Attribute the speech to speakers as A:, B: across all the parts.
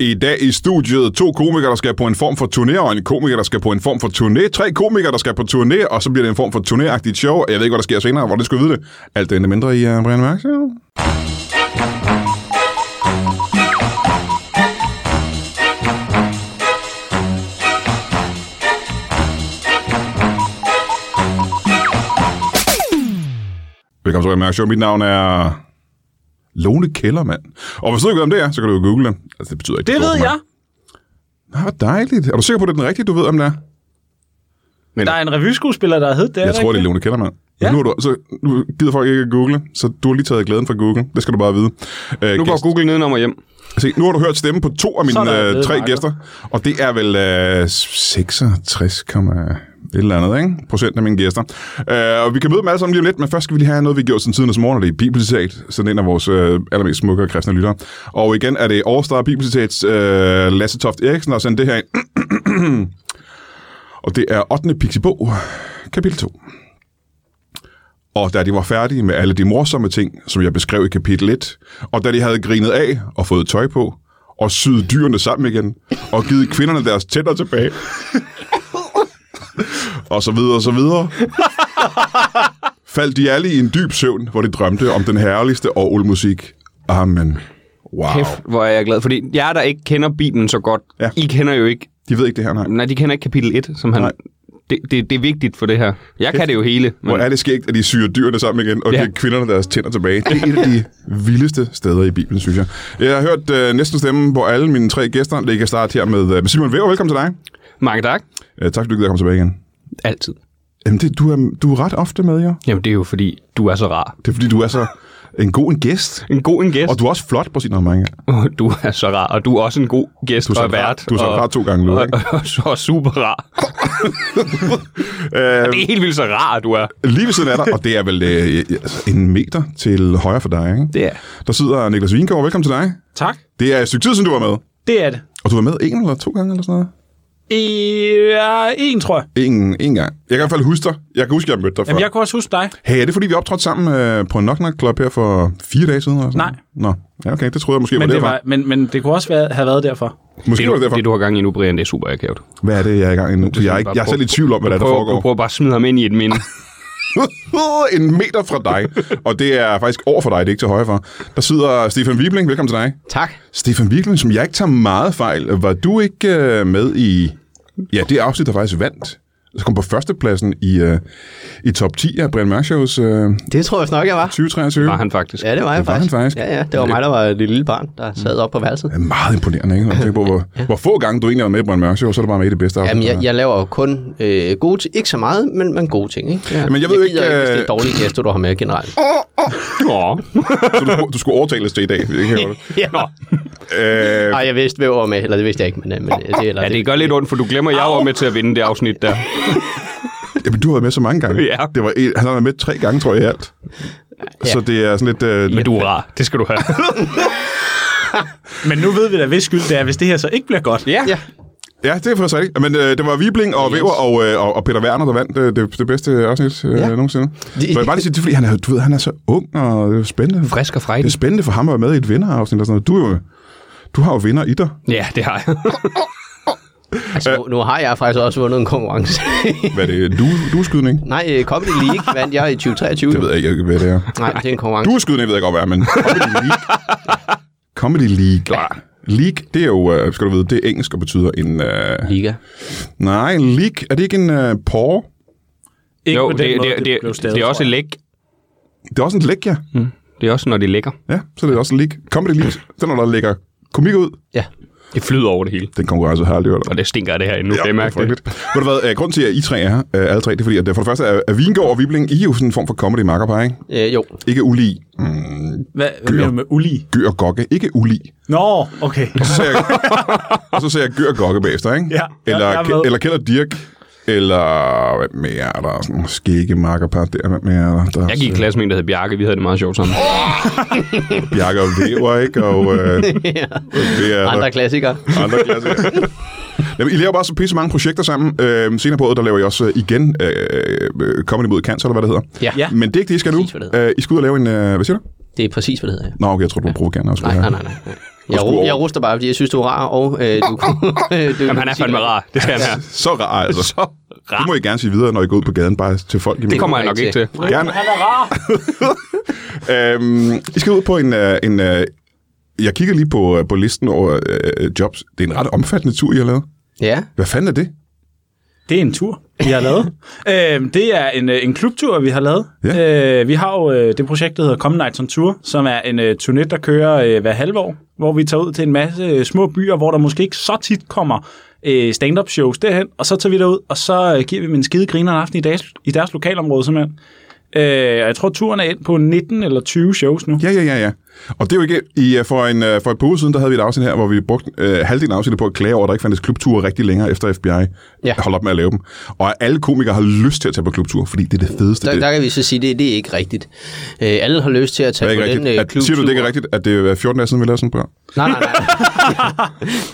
A: I dag i studiet to komikere, der skal på en form for turné, og en komiker, der skal på en form for turné. Tre komikere, der skal på turné, og så bliver det en form for turnéagtigt show. Jeg ved ikke, hvad der sker senere, hvor det skal vide det. Alt det endte mindre i uh, Brian Mørk Show. Velkommen til Brian Mørk Show. Mit navn er... Lone Kellermand. Og hvis du ikke ved, om det er, så kan du jo google det. Altså, det betyder ikke,
B: Det
A: du tror
B: ved
A: på mig. Nå,
B: jeg.
A: hvor dejligt. Er du sikker på, at det er den rigtige, du ved, om det er?
B: Der er en revyskuespiller, der hed det.
A: Jeg tror, det er Lone Kellermann. Ja.
B: Ja.
A: Nu, er du, så, nu gider folk ikke at google, så du har lige taget glæden fra Google. Det skal du bare vide. Øh,
C: Nu går
A: gæst-
C: Google nedenom og hjem.
A: se, nu har du hørt stemme på to af
B: Så er
A: mine
B: der
A: øh,
B: blevet
A: tre
B: marker.
A: gæster, og det er vel øh, 66, komma et eller andet ikke? procent af mine gæster. Øh, og vi kan møde dem alle sammen lige om lidt, men først skal vi lige have noget, vi gjorde siden tidernes morgen, og det er Bibelcitat, sådan en af vores øh, allermest smukke og kristne lyttere. Og igen er det Årstar Bibelcitats øh, Lasse Toft Eriksen, der har sendt det her ind. og det er 8. Pixibog, kapitel 2. Og da de var færdige med alle de morsomme ting, som jeg beskrev i kapitel 1, og da de havde grinet af og fået tøj på, og syet dyrene sammen igen, og givet kvinderne deres tænder tilbage, og så videre og så videre, faldt de alle i en dyb søvn, hvor de drømte om den herligste orgelmusik. Amen. Wow.
C: Kæft, hvor er jeg glad. Fordi jer, der ikke kender Bibelen så godt,
A: Ja.
C: ja. I kender jo ikke...
A: De ved ikke det her, nej.
C: Nej, de kender ikke kapitel 1, som han...
A: Nej.
C: Det, det, det er vigtigt for det her. Jeg kan det jo hele.
A: Hvor
C: Men
A: er det skægt, at de syrer dyrene sammen igen, og ja.
C: Ja.
A: giver kvinderne deres tænder tilbage. Det er et af de vildeste steder i Bibelen, synes jeg. Jeg har hørt øh, næsten stemme på alle mine tre gæster. Det kan starte her med, øh, med Simon Væver. Velkommen til dig.
C: mange tak.
A: Øh, tak, fordi du gider komme tilbage igen.
C: Altid.
A: Jamen, det, du, er, du er ret ofte med, jo.
C: Jamen, det er jo fordi, du er så rar.
A: Det er, fordi du er så en god en gæst.
C: En god en gæst.
A: Og du er også flot på sin omgang.
C: Og du er så rar. Og du er også en god gæst
A: Du er så
C: og
A: rar-
C: vært.
A: du er så
C: og,
A: rar to gange nu,
C: Og,
A: ikke?
C: og, så super rar.
A: Øh,
C: Det er helt vildt så rar, du er.
A: lige ved siden af dig, og det er vel øh, altså, en meter til højre for dig, ikke?
C: Det er.
A: Der sidder Niklas Vingård. Velkommen til dig.
B: Tak.
A: Det er et stykke tid, siden du var med.
B: Det er det.
A: Og du var med en eller to gange eller sådan noget?
B: Øh, en, tror jeg.
A: Ingen, ingen gang. Jeg kan i hvert fald huske dig. Jeg kan huske, at jeg mødte dig før.
B: Jamen, jeg kunne også huske dig.
A: Hey, er det fordi, vi optrådte sammen øh, på Knock Knock Club her for fire dage siden? Eller sådan?
B: Nej.
A: Nå, ja, okay, det troede jeg måske
B: Men
A: var
B: det,
A: derfor.
B: var, men, men det kunne også være, have været derfor.
A: Måske
C: Det,
A: var det
C: du,
A: derfor.
C: det, du har gang i nu, Brian, det er super akavet.
A: Hvad er det, jeg er i gang i nu? Jeg er, ikke,
C: bare
A: jeg er selv i
C: prøv-
A: tvivl om, hvad der, er, der
C: Prøv, prøv,
A: foregår.
C: prøv bare at smide ham ind i et minde.
A: en meter fra dig, og det er faktisk over for dig, det er ikke til højre for. Der sidder Stefan Wibling, velkommen til dig.
C: tak.
A: Stefan Wibling, som jeg ikke tager meget fejl, var du ikke øh, med i... Ja, det afsnit, der faktisk vandt. Så kom på førstepladsen i, øh, i top 10 af Brian Mørk Shows øh,
D: Det tror jeg snart, jeg var.
A: 2023.
C: Var han faktisk.
D: Ja, det var jeg
A: Det var
D: faktisk.
A: han faktisk. Mm.
D: Ja, ja. Det var mig, der var et lille barn, der sad op på værelset.
A: Det er meget imponerende, ikke? Når man tænker på, hvor, ja. hvor få gange du egentlig har været med i Brian Mørk Show, så er du bare med i det bedste afsnit.
D: Jamen,
A: der
D: jeg,
A: er.
D: jeg laver jo kun øh, gode ting. Ikke så meget, men, men gode ting, ikke? Ja.
A: Jamen, jeg ved jo
D: jeg gider
A: ikke,
D: hvis det
A: øh,
D: er dårlige gæster, du har med generelt.
C: Nå.
A: Så du, skulle- du skulle overtales til i dag. Det kan jeg godt.
D: Ja.
A: Øh,
D: Ej, jeg vidste, hvem jeg var med. Eller det vidste jeg ikke, men, øh, men øh, det, eller,
C: Ja, det gør lidt ondt, for du glemmer, jeg var med til at vinde det afsnit der.
A: jamen, du har været med så mange gange.
C: Ja.
A: Det var en, han har været med tre gange, tror jeg, i alt. Så det er sådan lidt... Øh,
C: Men du er rar. Det skal du have.
B: Men nu ved vi da, hvis skyld det er, hvis det her så ikke bliver godt.
C: ja.
D: Ja.
A: Ja, det er faktisk rigtigt. Men øh, det var Wibling og yes. Weber og, øh, og, og Peter Werner, der vandt øh, det, det bedste afsnit øh, ja.
D: Ja.
A: nogensinde.
D: Det-
A: Så jeg vil bare lige sige, det er fordi, han er, du ved, han er så ung og det er jo spændende.
C: Frisk og
A: Det er
C: frejdig.
A: spændende for ham at være med i et vinderafsnit og sådan noget. Du, er jo, du har jo vinder i dig.
C: Ja, det har jeg.
D: altså,
A: Øh.
D: nu, nu har jeg faktisk også vundet en konkurrence.
A: Hvad er det? Du, du skydning?
D: Nej, øh, Comedy League vandt jeg i 2023.
A: Det ved jeg ikke, hvad det er.
D: Nej, det er en konkurrence.
A: Du er skydende, ved jeg godt, hvad er, men Comedy League. Comedy League. Ja. League, det er jo, øh, skal du vide, det er engelsk og betyder en... Øh,
D: Liga.
A: nej, en league. Er det ikke en øh, porre?
B: Ikke
C: Jo,
B: på
C: det,
B: den
C: det,
B: måde,
C: det,
B: blev
C: det,
B: stavet,
C: det er også
B: tror jeg.
C: læk.
A: Det er også en læk, ja.
C: Det er også, når det ligger.
A: Ja, så er det også en league. Comedy League, den er, når der lægger komik ud.
D: Ja.
C: Det flyder over det hele.
A: Den altså konkurrence har jeg aldrig hørt om.
C: Og det stinker af det her endnu. Ja, det
A: det er
C: mærker det.
A: frygteligt. Ved du hvad, øh, grunden til, at I tre er her, øh, alle tre, det er fordi, at øh, for det første er, er Vingård og Vibling, I er jo sådan en form for comedy makkerpar, ikke?
D: Øh, jo.
A: Ikke ulig. Mm,
B: Hvad, hvad mener du med uli?
A: gør og gokke. Ikke ulig.
B: Nå, okay.
A: Og så sagde jeg, og så sagde jeg gør og gokke bagefter, ikke?
B: Ja, jeg-
A: eller,
B: jeg er med.
A: eller Kjeld og Dirk. Eller hvad mere er der? Sådan nogle skægge makkerpar der. Hvad mere er der? der er
C: Jeg gik i
A: også,
C: klasse med en, der hed Bjarke. Vi havde det meget sjovt sammen.
A: øh, Bjarke og Væver, ikke? Og øh, det er
D: Andre klassikere.
A: Andre klasse. Jamen, I laver bare så pisse mange projekter sammen. Øh, senere på året, der laver I også øh, igen øh, øh, Comedy mod Cancer, eller hvad det hedder.
D: Ja.
B: Ja.
D: ja.
A: Men det er ikke det, I skal nu.
D: Præcis, hvad det
A: Øh, I skal ud og lave en... Øh, hvad siger du?
D: Det er præcis, hvad det hedder. ja.
A: Nå, okay, jeg tror, du var provokerende. og skulle
D: Nej,
A: have-
D: nej, nej, nej.
A: at
D: Jeg,
A: skulle
D: ru- jeg
A: over.
D: ruster bare, fordi jeg synes, du er rar, og øh, du, du
C: Jamen, han er fandme rar. Det skal han have.
A: Så rar, altså.
C: Så rar.
A: Det må I gerne sige videre, når I går ud på gaden, bare til folk.
C: Det kommer jeg nok ikke til.
A: Gerne.
B: Han er rar.
A: Øhm, I skal ud på en... øh, en øh, jeg kigger lige på, øh, på listen over øh, jobs. Det er en ret omfattende tur, I har lavet.
D: Ja,
A: Hvad fanden er det?
B: Det er en tur, vi har lavet. øhm, det er en, øh, en klubtur, vi har lavet. Øh, vi har jo øh, det projekt, der hedder Come Nights on Tour, som er en øh, turné, der kører øh, hver halve år, hvor vi tager ud til en masse øh, små byer, hvor der måske ikke så tit kommer øh, stand-up shows derhen, og så tager vi derud, og så øh, giver vi dem en skide griner en aften i deres, i deres lokalområde simpelthen. Øh, og jeg tror, turen er ind på 19 eller 20 shows nu.
A: Ja, ja, ja, ja. Og det er jo ikke... I, øh, for, en, øh, for et par uger siden, der havde vi et afsnit her, hvor vi brugte øh, halvdelen af afsnittet på at klage over, at der ikke fandtes klubture rigtig længere efter FBI ja.
D: Ja.
A: holdt op med at lave dem. Og alle komikere har lyst til at tage på klubtur, fordi det er det fedeste.
D: der,
A: det.
D: der kan vi så sige, det, det er ikke rigtigt. Øh, alle har lyst til at
A: det er
D: tage
A: ikke
D: på den
A: rigtigt.
D: øh,
A: At,
D: klubtur.
A: siger du, det ikke er rigtigt, at det er 14 dage siden, vi lavede sådan et program?
D: Nej, nej, nej.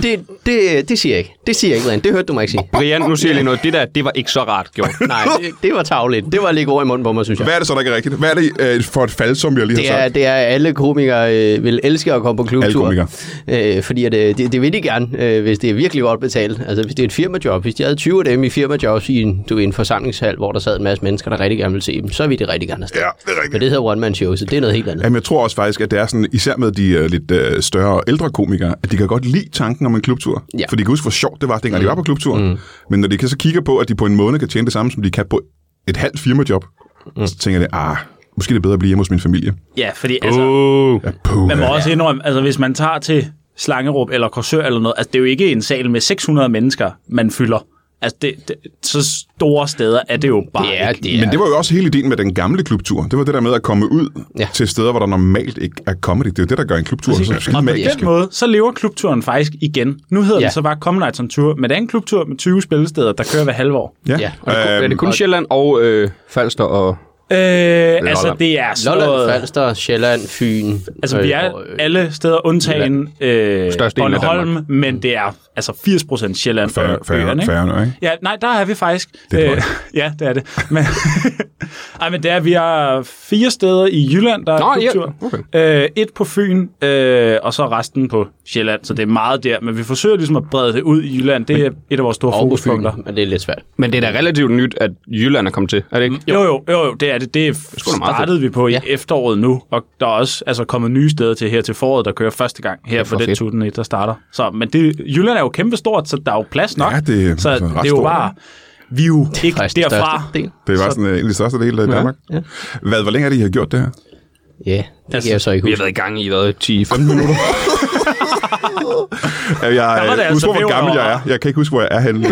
D: det, øh, det, det siger jeg ikke. Det siger jeg ikke, Brian. Det hørte du mig ikke sige.
C: Brian, nu siger jeg lige noget. Det der, det var ikke så rart gjort.
D: Nej, det, det var tavligt. Det var lige ord i munden på mig, synes jeg.
A: Hvad er det så, der ikke er rigtigt? Hvad er det øh, for et fald, som jeg lige
D: Det
A: har
D: er,
A: sagt?
D: det er alle komikere øh, vil elske at komme på klubtur.
A: Alle komikere.
D: Øh, fordi at, øh, det, det vil de gerne, øh, hvis det er virkelig godt betalt. Altså hvis det er et firmajob. Hvis de havde 20 af dem i firmajobs i en, du, ved, en forsamlingshal, hvor der sad en masse mennesker, der rigtig gerne ville se dem, så vil de rigtig gerne afsted.
A: Ja, det er rigtigt.
D: Men det hedder one man show, så det er noget helt andet.
A: Jamen, jeg tror også faktisk, at det er sådan, især med de øh, lidt øh, større og ældre komikere, at de kan godt lide tanken om en klubtur.
D: Ja.
A: For de kan huske, hvor sjovt det var, dengang mm. de var på klubtur. Mm. Men når de kan så kigger på, at de på en måned kan tjene det samme, som de kan på et halvt firmajob, mm. så tænker jeg, ah, måske er det bedre at blive hjemme hos min familie.
B: Ja, fordi altså...
C: Uh.
A: Ja, puh,
B: Man må også indrømme, altså hvis man tager til Slangerup eller Korsør eller noget, altså det er jo ikke en sal med 600 mennesker, man fylder. Altså det, det, så store steder er det jo bare
D: Det er,
B: ikke.
D: det er.
A: Men det var jo også hele ideen med den gamle klubtur. Det var det der med at komme ud ja.
D: Ja.
A: til steder, hvor der normalt ikke er comedy. Det er jo det, der gør en klubtur så skide
B: Og på
A: magisk.
B: den måde, så lever klubturen faktisk igen. Nu hedder ja.
D: Ja.
B: det så bare Come Nights on Tour, men det er en klubtur med 20 spillesteder, der kører hver halvår.
D: Ja.
C: Øhm, Og det,
A: Øhm,
C: er det kun Sjælland og øh, Falster og...
B: Øh, altså
C: Lolland.
B: det er sådan
D: Lolland,
B: noget...
D: Falster, Sjælland, Fyn.
B: Altså vi er
D: og, øh,
B: alle steder undtagen øh,
C: Størstedelen af
B: Bornholm, men det er altså 80% Sjælland
A: Færre,
B: og øerne,
A: færre,
B: ikke?
A: færre, ikke?
B: Ja, nej, der er vi faktisk. Øh,
A: Det er løgn.
B: ja, det er det. Men, ej, men det er, vi har fire steder i Jylland, der er
C: Nå, ja,
B: kultur. Øh, et på Fyn, øh, og så resten på Sjælland, så det er meget der. Men vi forsøger ligesom at brede det ud i Jylland. Det er et af vores store
D: og på Fyn,
B: fokuspunkter.
D: men det er lidt svært.
C: Men det er da relativt nyt, at Jylland er kommet til, er det ikke?
B: Jo, jo, jo, jo, det er det. Det
C: sgu da meget
B: startede vi på i ja.
D: Ja.
B: efteråret nu, og der er også altså, kommet nye steder til her til foråret, der kører første gang her
C: for
B: på den
C: fedt.
B: turné, der starter. Så, men det, Jylland er jo kæmpestort, så der er jo plads nok.
A: Ja, det er
B: så
A: altså
B: det
A: ret
B: er jo
A: stort,
B: bare, vi er jo ikke
D: Faktisk den
B: derfra.
D: største del.
A: Det var sådan øh, en af de største dele af Danmark. Ja. Hvad, hvor længe er det, I har gjort det her?
D: Ja, det
B: Altså,
D: kan jeg så ikke
C: Vi har
D: huske.
C: været i gang i, hvad, 10-15 minutter?
A: Jeg, jeg
B: var
A: husker,
B: det altså
A: altså hvor
B: væv
A: gammel jeg er. Jeg kan ikke huske, hvor jeg er henne.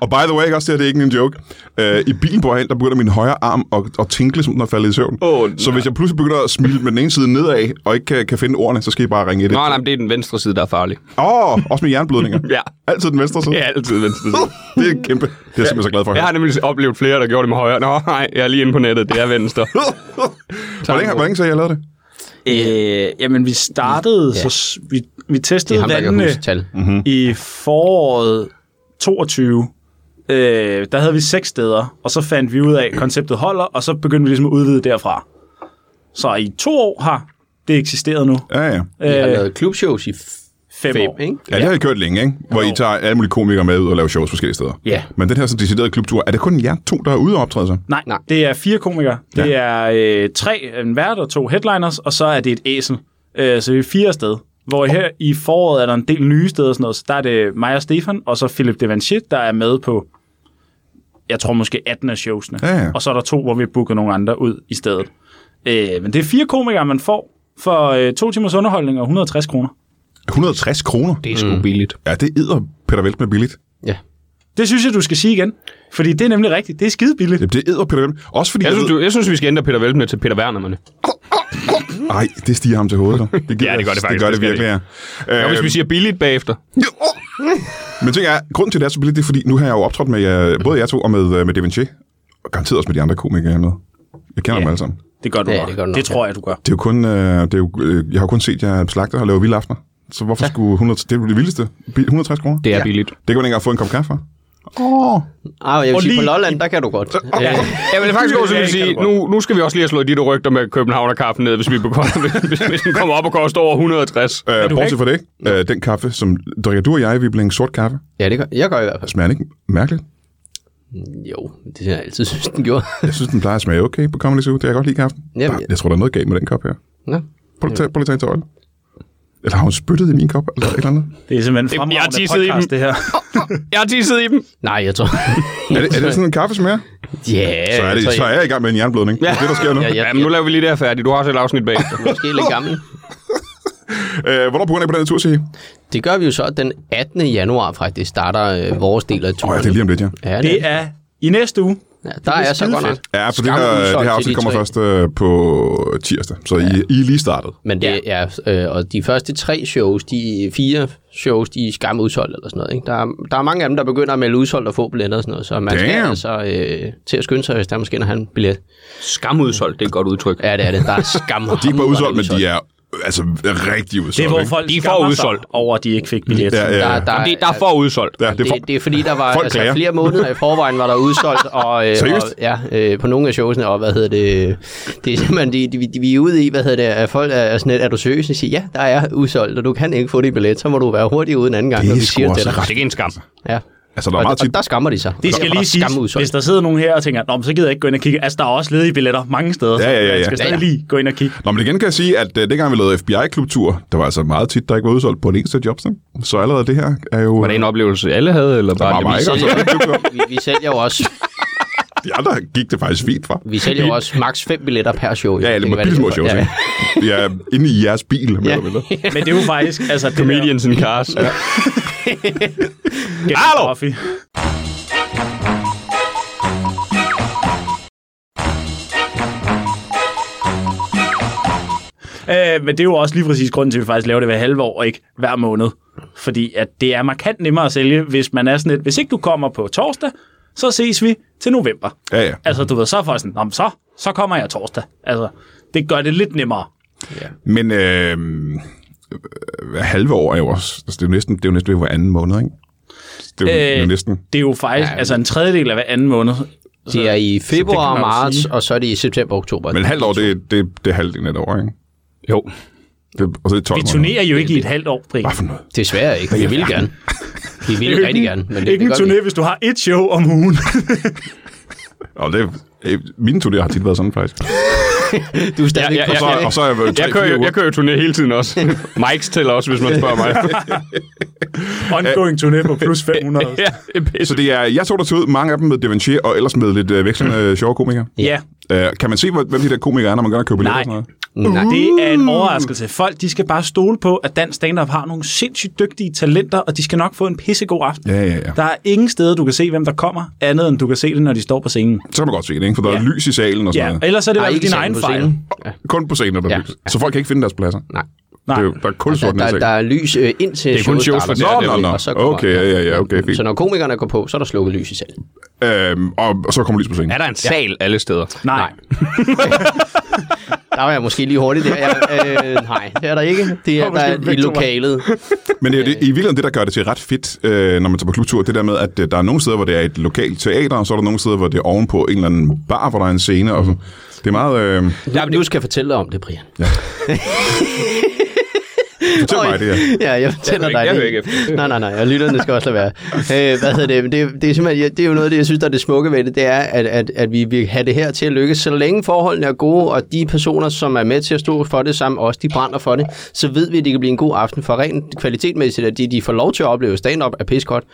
A: og by the way, ikke også det her, det er ikke en joke. Øh, I bilen på herhen, der begynder min højre arm at, at tinkle, som den er faldet i søvn.
C: Åh,
A: så
C: nej.
A: hvis jeg pludselig begynder at smile med den ene side nedad, og ikke kan, kan finde ordene, så skal I bare ringe et.
C: Nå, nej, men det er den venstre side, der er farlig.
A: Åh, oh, også med jernblødninger.
C: Ja.
A: Altid den venstre side.
C: Det er altid venstre side.
A: det er kæmpe. Det er jeg simpelthen så glad for.
C: Jeg har nemlig oplevet flere, der gjorde det med højre. Nå, nej, jeg er lige inde på nettet. Det er venstre.
A: hvor, længe, hvor længe så har jeg lavet det?
B: Øh, jamen, vi startede, ja. så s- vi, vi
D: Det er
B: testede
D: ham, der kan
B: vandene
D: huske tal.
B: i foråret 22. Øh, der havde vi seks steder, og så fandt vi ud af, at konceptet holder, og så begyndte vi ligesom at udvide derfra. Så i to år har det eksisteret nu.
A: Ja, ja.
D: Vi har
B: Øh,
D: lavet klubshows i f-
B: fem,
D: fem,
B: år.
D: ikke?
A: Ja, det har I kørt længe, ikke? Hvor I tager alle mulige komikere med ud og laver shows forskellige steder.
D: Ja.
A: Men den her sådan deciderede klubtur, er det kun jer to, der er ude og optræde sig?
B: Nej, Nej,
D: Nej.
B: det er fire komikere. Det er øh, tre, en vært og to headliners, og så er det et æsel. Øh, så det er fire sted. Hvor her i foråret er der en del nye steder og sådan noget. Så der er det mig og Stefan, og så Philip Devanchit, der er med på, jeg tror måske 18 af showsene.
A: Ja, ja.
B: Og så er der to, hvor vi booker nogle andre ud i stedet. Øh, men det er fire komikere, man får for øh, to timers underholdning og 160 kroner.
A: 160 kroner?
C: Det er sgu billigt.
A: Ja, det æder Peter Veldt med billigt.
D: Ja.
B: Det synes jeg, du skal sige igen. Fordi det er nemlig rigtigt. Det er skide billigt.
A: Jamen, det æder Peter Veldt. Også fordi...
C: Jeg
A: jeg
C: synes, du, jeg synes, vi skal ændre Peter Veltner til Peter Wernermerne.
A: ved- Ej, det stiger ham til hovedet. dog. Det, gider
C: Ja, det gør det
A: jeg-
C: faktisk.
A: Det gør det
C: Det skal
A: virkelig, ja. Øhm,
C: Og hvis vi siger billigt bagefter.
A: Men ting er, grunden til, at det er så billigt, det er, fordi nu har jeg jo optrådt med jer, både jer to og med, øh, med Da Vinci. Og garanteret også med de andre komikere, jeg er med. Jeg kender
B: Ja.
A: dem alle sammen.
B: Det gør du
D: Ja,
B: nok.
D: det gør du nok,
B: det
D: ja.
B: tror jeg, du gør.
A: Det er jo kun... Øh, det er jo, øh, jeg har jo kun set jer slagter og lave vilde aftener. Så hvorfor ja. skulle 100... Det er jo det vildeste. Bi- 160 kroner.
C: Det er
D: Ja.
C: billigt.
A: Det kan man ikke engang få en kop kaffe for. Åh,
D: Ah, jeg vil
B: Og
D: sige, på
B: lige-
D: Lolland, der kan du godt. Ja.
C: Jeg vil faktisk også
B: Ja,
C: lige
B: kan
C: sige,
B: du godt.
C: nu, nu skal vi også lige have slået dit rygter med Københavnerkaffen ned, hvis, vi begår, hvis, hvis den kommer op og koster over 160.
A: øh,
B: du
A: bortset fra det, øh, den kaffe, som drikker du og jeg, vi blænger sort kaffe.
D: ja, det gør jeg gør i hvert fald.
A: Smager den ikke mærkeligt?
D: Jo, det har jeg altid synes, den gjorde.
A: Jeg synes, den plejer at smage okay på Comedy Zoo. Det kan jeg godt lide kaffen.
D: Jamen,
A: Bare, jeg tror, der er noget galt med den kop her.
D: Nå.
A: Prøv lige at tage- prøv lige at tage en tøjle. Eller har hun spyttet i min kop, eller et eller andet?
B: Det er simpelthen
C: jeg
B: fremragende
C: tissede i
B: podcast, det her.
C: Jeg har tisset i dem.
D: Nej, jeg tror...
A: Er det, er det sådan en kaffesmager?
D: Ja,
A: Så er, det,
D: jeg
A: så
D: tror,
A: er
D: jeg,
A: jeg i gang med en jernblødning. Det er det, der sker nu.
D: jeg, jeg,
C: Jamen, nu
D: jeg,
C: laver vi lige det her færdigt. Du har også et afsnit bag.
D: jeg, måske lidt gammel.
A: Øh, hvornår begynder I på den her tur, sige?
D: Det gør vi jo så, at den 18. januar faktisk starter øh, vores del af
A: Åh,
D: turen.
A: ja, det er lige om lidt, ja.
D: ja, det,
B: Det er i næste uge.
D: ja, der er jeg så godt nok.
A: Ja, for det
D: Skam
A: her,
D: udsolgt
A: det her
D: til
A: afsnit
D: de
A: kommer
D: tre.
A: først øh, på tirsdag, så I, I er lige startet.
D: Men det ja. er, øh, og de første tre shows, de fire shows, de er skam udsolgt eller sådan noget. Ikke? Der, er, der er mange af dem, der begynder at melde udsolgt og få billetter og sådan noget, så man skal
A: Damn.
D: altså øh, til at skynde sig, hvis der måske har en billet.
C: Skamudsolgt, det er et godt udtryk.
D: Ja, det er det. Der er skam.
A: De er bare udsolgt, men de er øh, altså rigtig udsolgt.
B: Det er, hvor
A: ikke?
B: folk
C: De får
B: skammer sig
C: udsolgt.
B: over, at de ikke fik billet.
A: Ja, ja.
D: Der,
A: Der,
D: der,
C: Jamen, det, der er for udsolgt.
A: ja, det er for...
D: det, det er fordi, der var
A: Folk
D: altså,
A: klager.
D: flere måneder i forvejen, var der udsolgt, og, øh, og
A: Seriøst?
D: ja, øh, på nogle af showsene, og hvad hedder det, det er simpelthen, de, de, de, vi er ude i, hvad hedder det, at folk er, er sådan lidt, er du seriøs? Jeg siger, ja, der er udsolgt, og du kan ikke få dit billet, så må du være hurtig uden anden gang,
A: Det
D: når
A: er
D: vi
A: sgu
D: siger
A: også
D: til dig.
A: ret.
C: Det er ikke en skam.
D: Ja.
A: Altså, der
D: Og,
A: er
D: og,
A: meget tit...
D: der skammer de sig.
B: Det skal
D: Der er
B: lige siges,
D: skamudsolgt.
B: hvis der sidder nogen her og tænker, Nå, men så gider jeg ikke gå ind og kigge. Altså, der er også ledige billetter mange steder.
A: Ja, ja, ja, ja.
B: Man skal stadig
D: Ja, ja.
B: lige gå ind og kigge.
A: Nå, men igen kan jeg sige, at uh, dengang vi lavede FBI-klubtur, der var altså meget tit, der ikke var udsolgt på en eneste jobs. ikke? Så allerede det her er jo...
C: Var det en oplevelse, alle havde, eller
A: der
C: bare
A: var
C: det
A: bare
C: viste
A: ikke
C: sig?
A: udsolgt på den klubtur.
D: Vi, vi sælger jo også,
A: De andre gik det faktisk fint for.
D: vi sælger jo også maks 5 billetter per show.
A: Ja,
D: Det
A: eller
D: kan være,
A: med bilsmå shows,
D: Ja.
A: ikke? Ja, inde i jeres bil, mere
D: Ja.
A: eller mindre.
B: Men det er jo faktisk... Altså, det
C: Comedians in cars.
B: Der,
C: Hallo!
B: Hallo! Øh, men det er jo også lige præcis grunden til, at vi faktisk laver det hver halve år, og ikke hver måned. Fordi at det er markant nemmere at sælge, hvis man er sådan et, hvis ikke du kommer på torsdag, så ses vi til november.
A: Ja, ja.
B: Altså, du ved, så er folk sådan, "Nå, men så, så kommer jeg torsdag. Altså, det gør det lidt nemmere.
A: Men øh, øh, halve år er jo også... Altså, det er jo næsten, det er jo næsten hver anden måned, ikke? Det er jo, øh,
B: Øh,
A: jo næsten...
B: Det er jo faktisk, ja, altså en tredjedel af hver anden måned.
D: Det er i
B: Så det
D: februar,
B: kan man jo
D: marts,
B: sige.
D: og så er det i september og oktober.
A: Men et halvt år, det, det, det er halvdelen af et år, ikke?
C: Jo.
A: Det, og så er det 12
B: Vi turnerer jo ikke i et halvt år, Brian.
A: Hvad for noget?
D: Desværre ikke. Vi vil gerne. Vi vil rigtig gerne. Men det,
B: ikke
D: det
B: en
D: gør vi.
B: turné, hvis du har et show om ugen.
A: Og det, øh, mine turnéer har tit været sådan, faktisk.
D: Du er stadig
C: Ja, ja,
A: Og
D: på
A: så,
D: turné.
A: og så er jeg været
C: Jeg kører, jo- jeg kører jo turné hele tiden også. Mikes tæller også, hvis man spørger mig.
B: Ongoing turné på plus 500.
C: ja, det er pisse.
A: Så det er, jeg tog der til ud, mange af dem med Devanchier, og ellers med lidt øh, vekslende sjove komikere.
B: Mm. ja.
A: Øh, kan man se, hvor- hvem de der komikere er, når man gør at købe billetter
B: Nej.
A: og sådan noget?
D: Nej.
B: Det er en overraskelse. Folk, de skal bare stole på, at dansk stand-up har nogle sindssygt dygtige talenter, og de skal nok få en pissegod aften.
A: Ja, ja, ja.
B: Der er ingen steder, du kan se, hvem der kommer, andet end du kan se det, når de står på scenen.
A: Så kan man godt se det, ikke? For der er
B: Ja.
A: lys i salen og sådan
B: Ja,
A: noget.
B: og ellers er det
D: Ej,
B: bare
D: ikke
B: din
D: salen
B: egen
D: på
B: fejl.
D: scenen. Ja.
A: Kun på scenen er der
D: Ja.
A: ja. lys. Så folk kan ikke finde deres pladser.
D: Nej.
A: Det
B: Nej.
A: er jo, der er kun
D: Der,
A: sort
D: der, der
A: der,
D: er lys øh, indtil
C: Det er kun shows
D: starter.
A: Nå,
C: for der-
A: nå, nå.
D: og så kommer-
A: Okay, ja, ja, ja, okay, fint.
D: Så når komikerne går på, så er der slukket lys i salen.
A: Øhm, og, og så kommer lys på scenen.
C: Er der en sal alle steder?
B: Nej.
D: Der var jeg måske lige hurtigt der. Jeg, øh, nej, det er der ikke. Det er
B: Kom,
D: der
B: måske
D: er i
B: væk, Thomas.
D: lokalet.
A: Men det er jo det, i virkeligheden det, der gør det til ret fedt, øh, når man tager på klubtur, det der med, at øh, der er nogle steder, hvor det er et lokalt teater, og så er der nogle steder, hvor det er ovenpå en eller anden bar, hvor der er en scene. Og så. Det er meget... Øh,
D: Ja, men du skal jeg fortælle dig om det, Brian.
A: fortæl
D: Oj.
A: mig det her.
D: Ja, jeg fortæller
C: hører
D: dig
C: ikke- jeg
D: det.
C: hører ikke
D: Nej, nej, nej, og lytterne skal også lade være. Øh, hvad hedder det? Men Det, det, er simpelthen, ja, det er jo noget af det, jeg synes, der er det smukke ved det, det er, at, at, at vi vil have det her til at lykkes. Så længe forholdene er gode, og de personer, som er med til at stå for det sammen, også de brænder for det, så ved vi, at det kan blive en god aften. For rent kvalitetmæssigt, at de, de får lov til at opleve stand-up, er pis godt.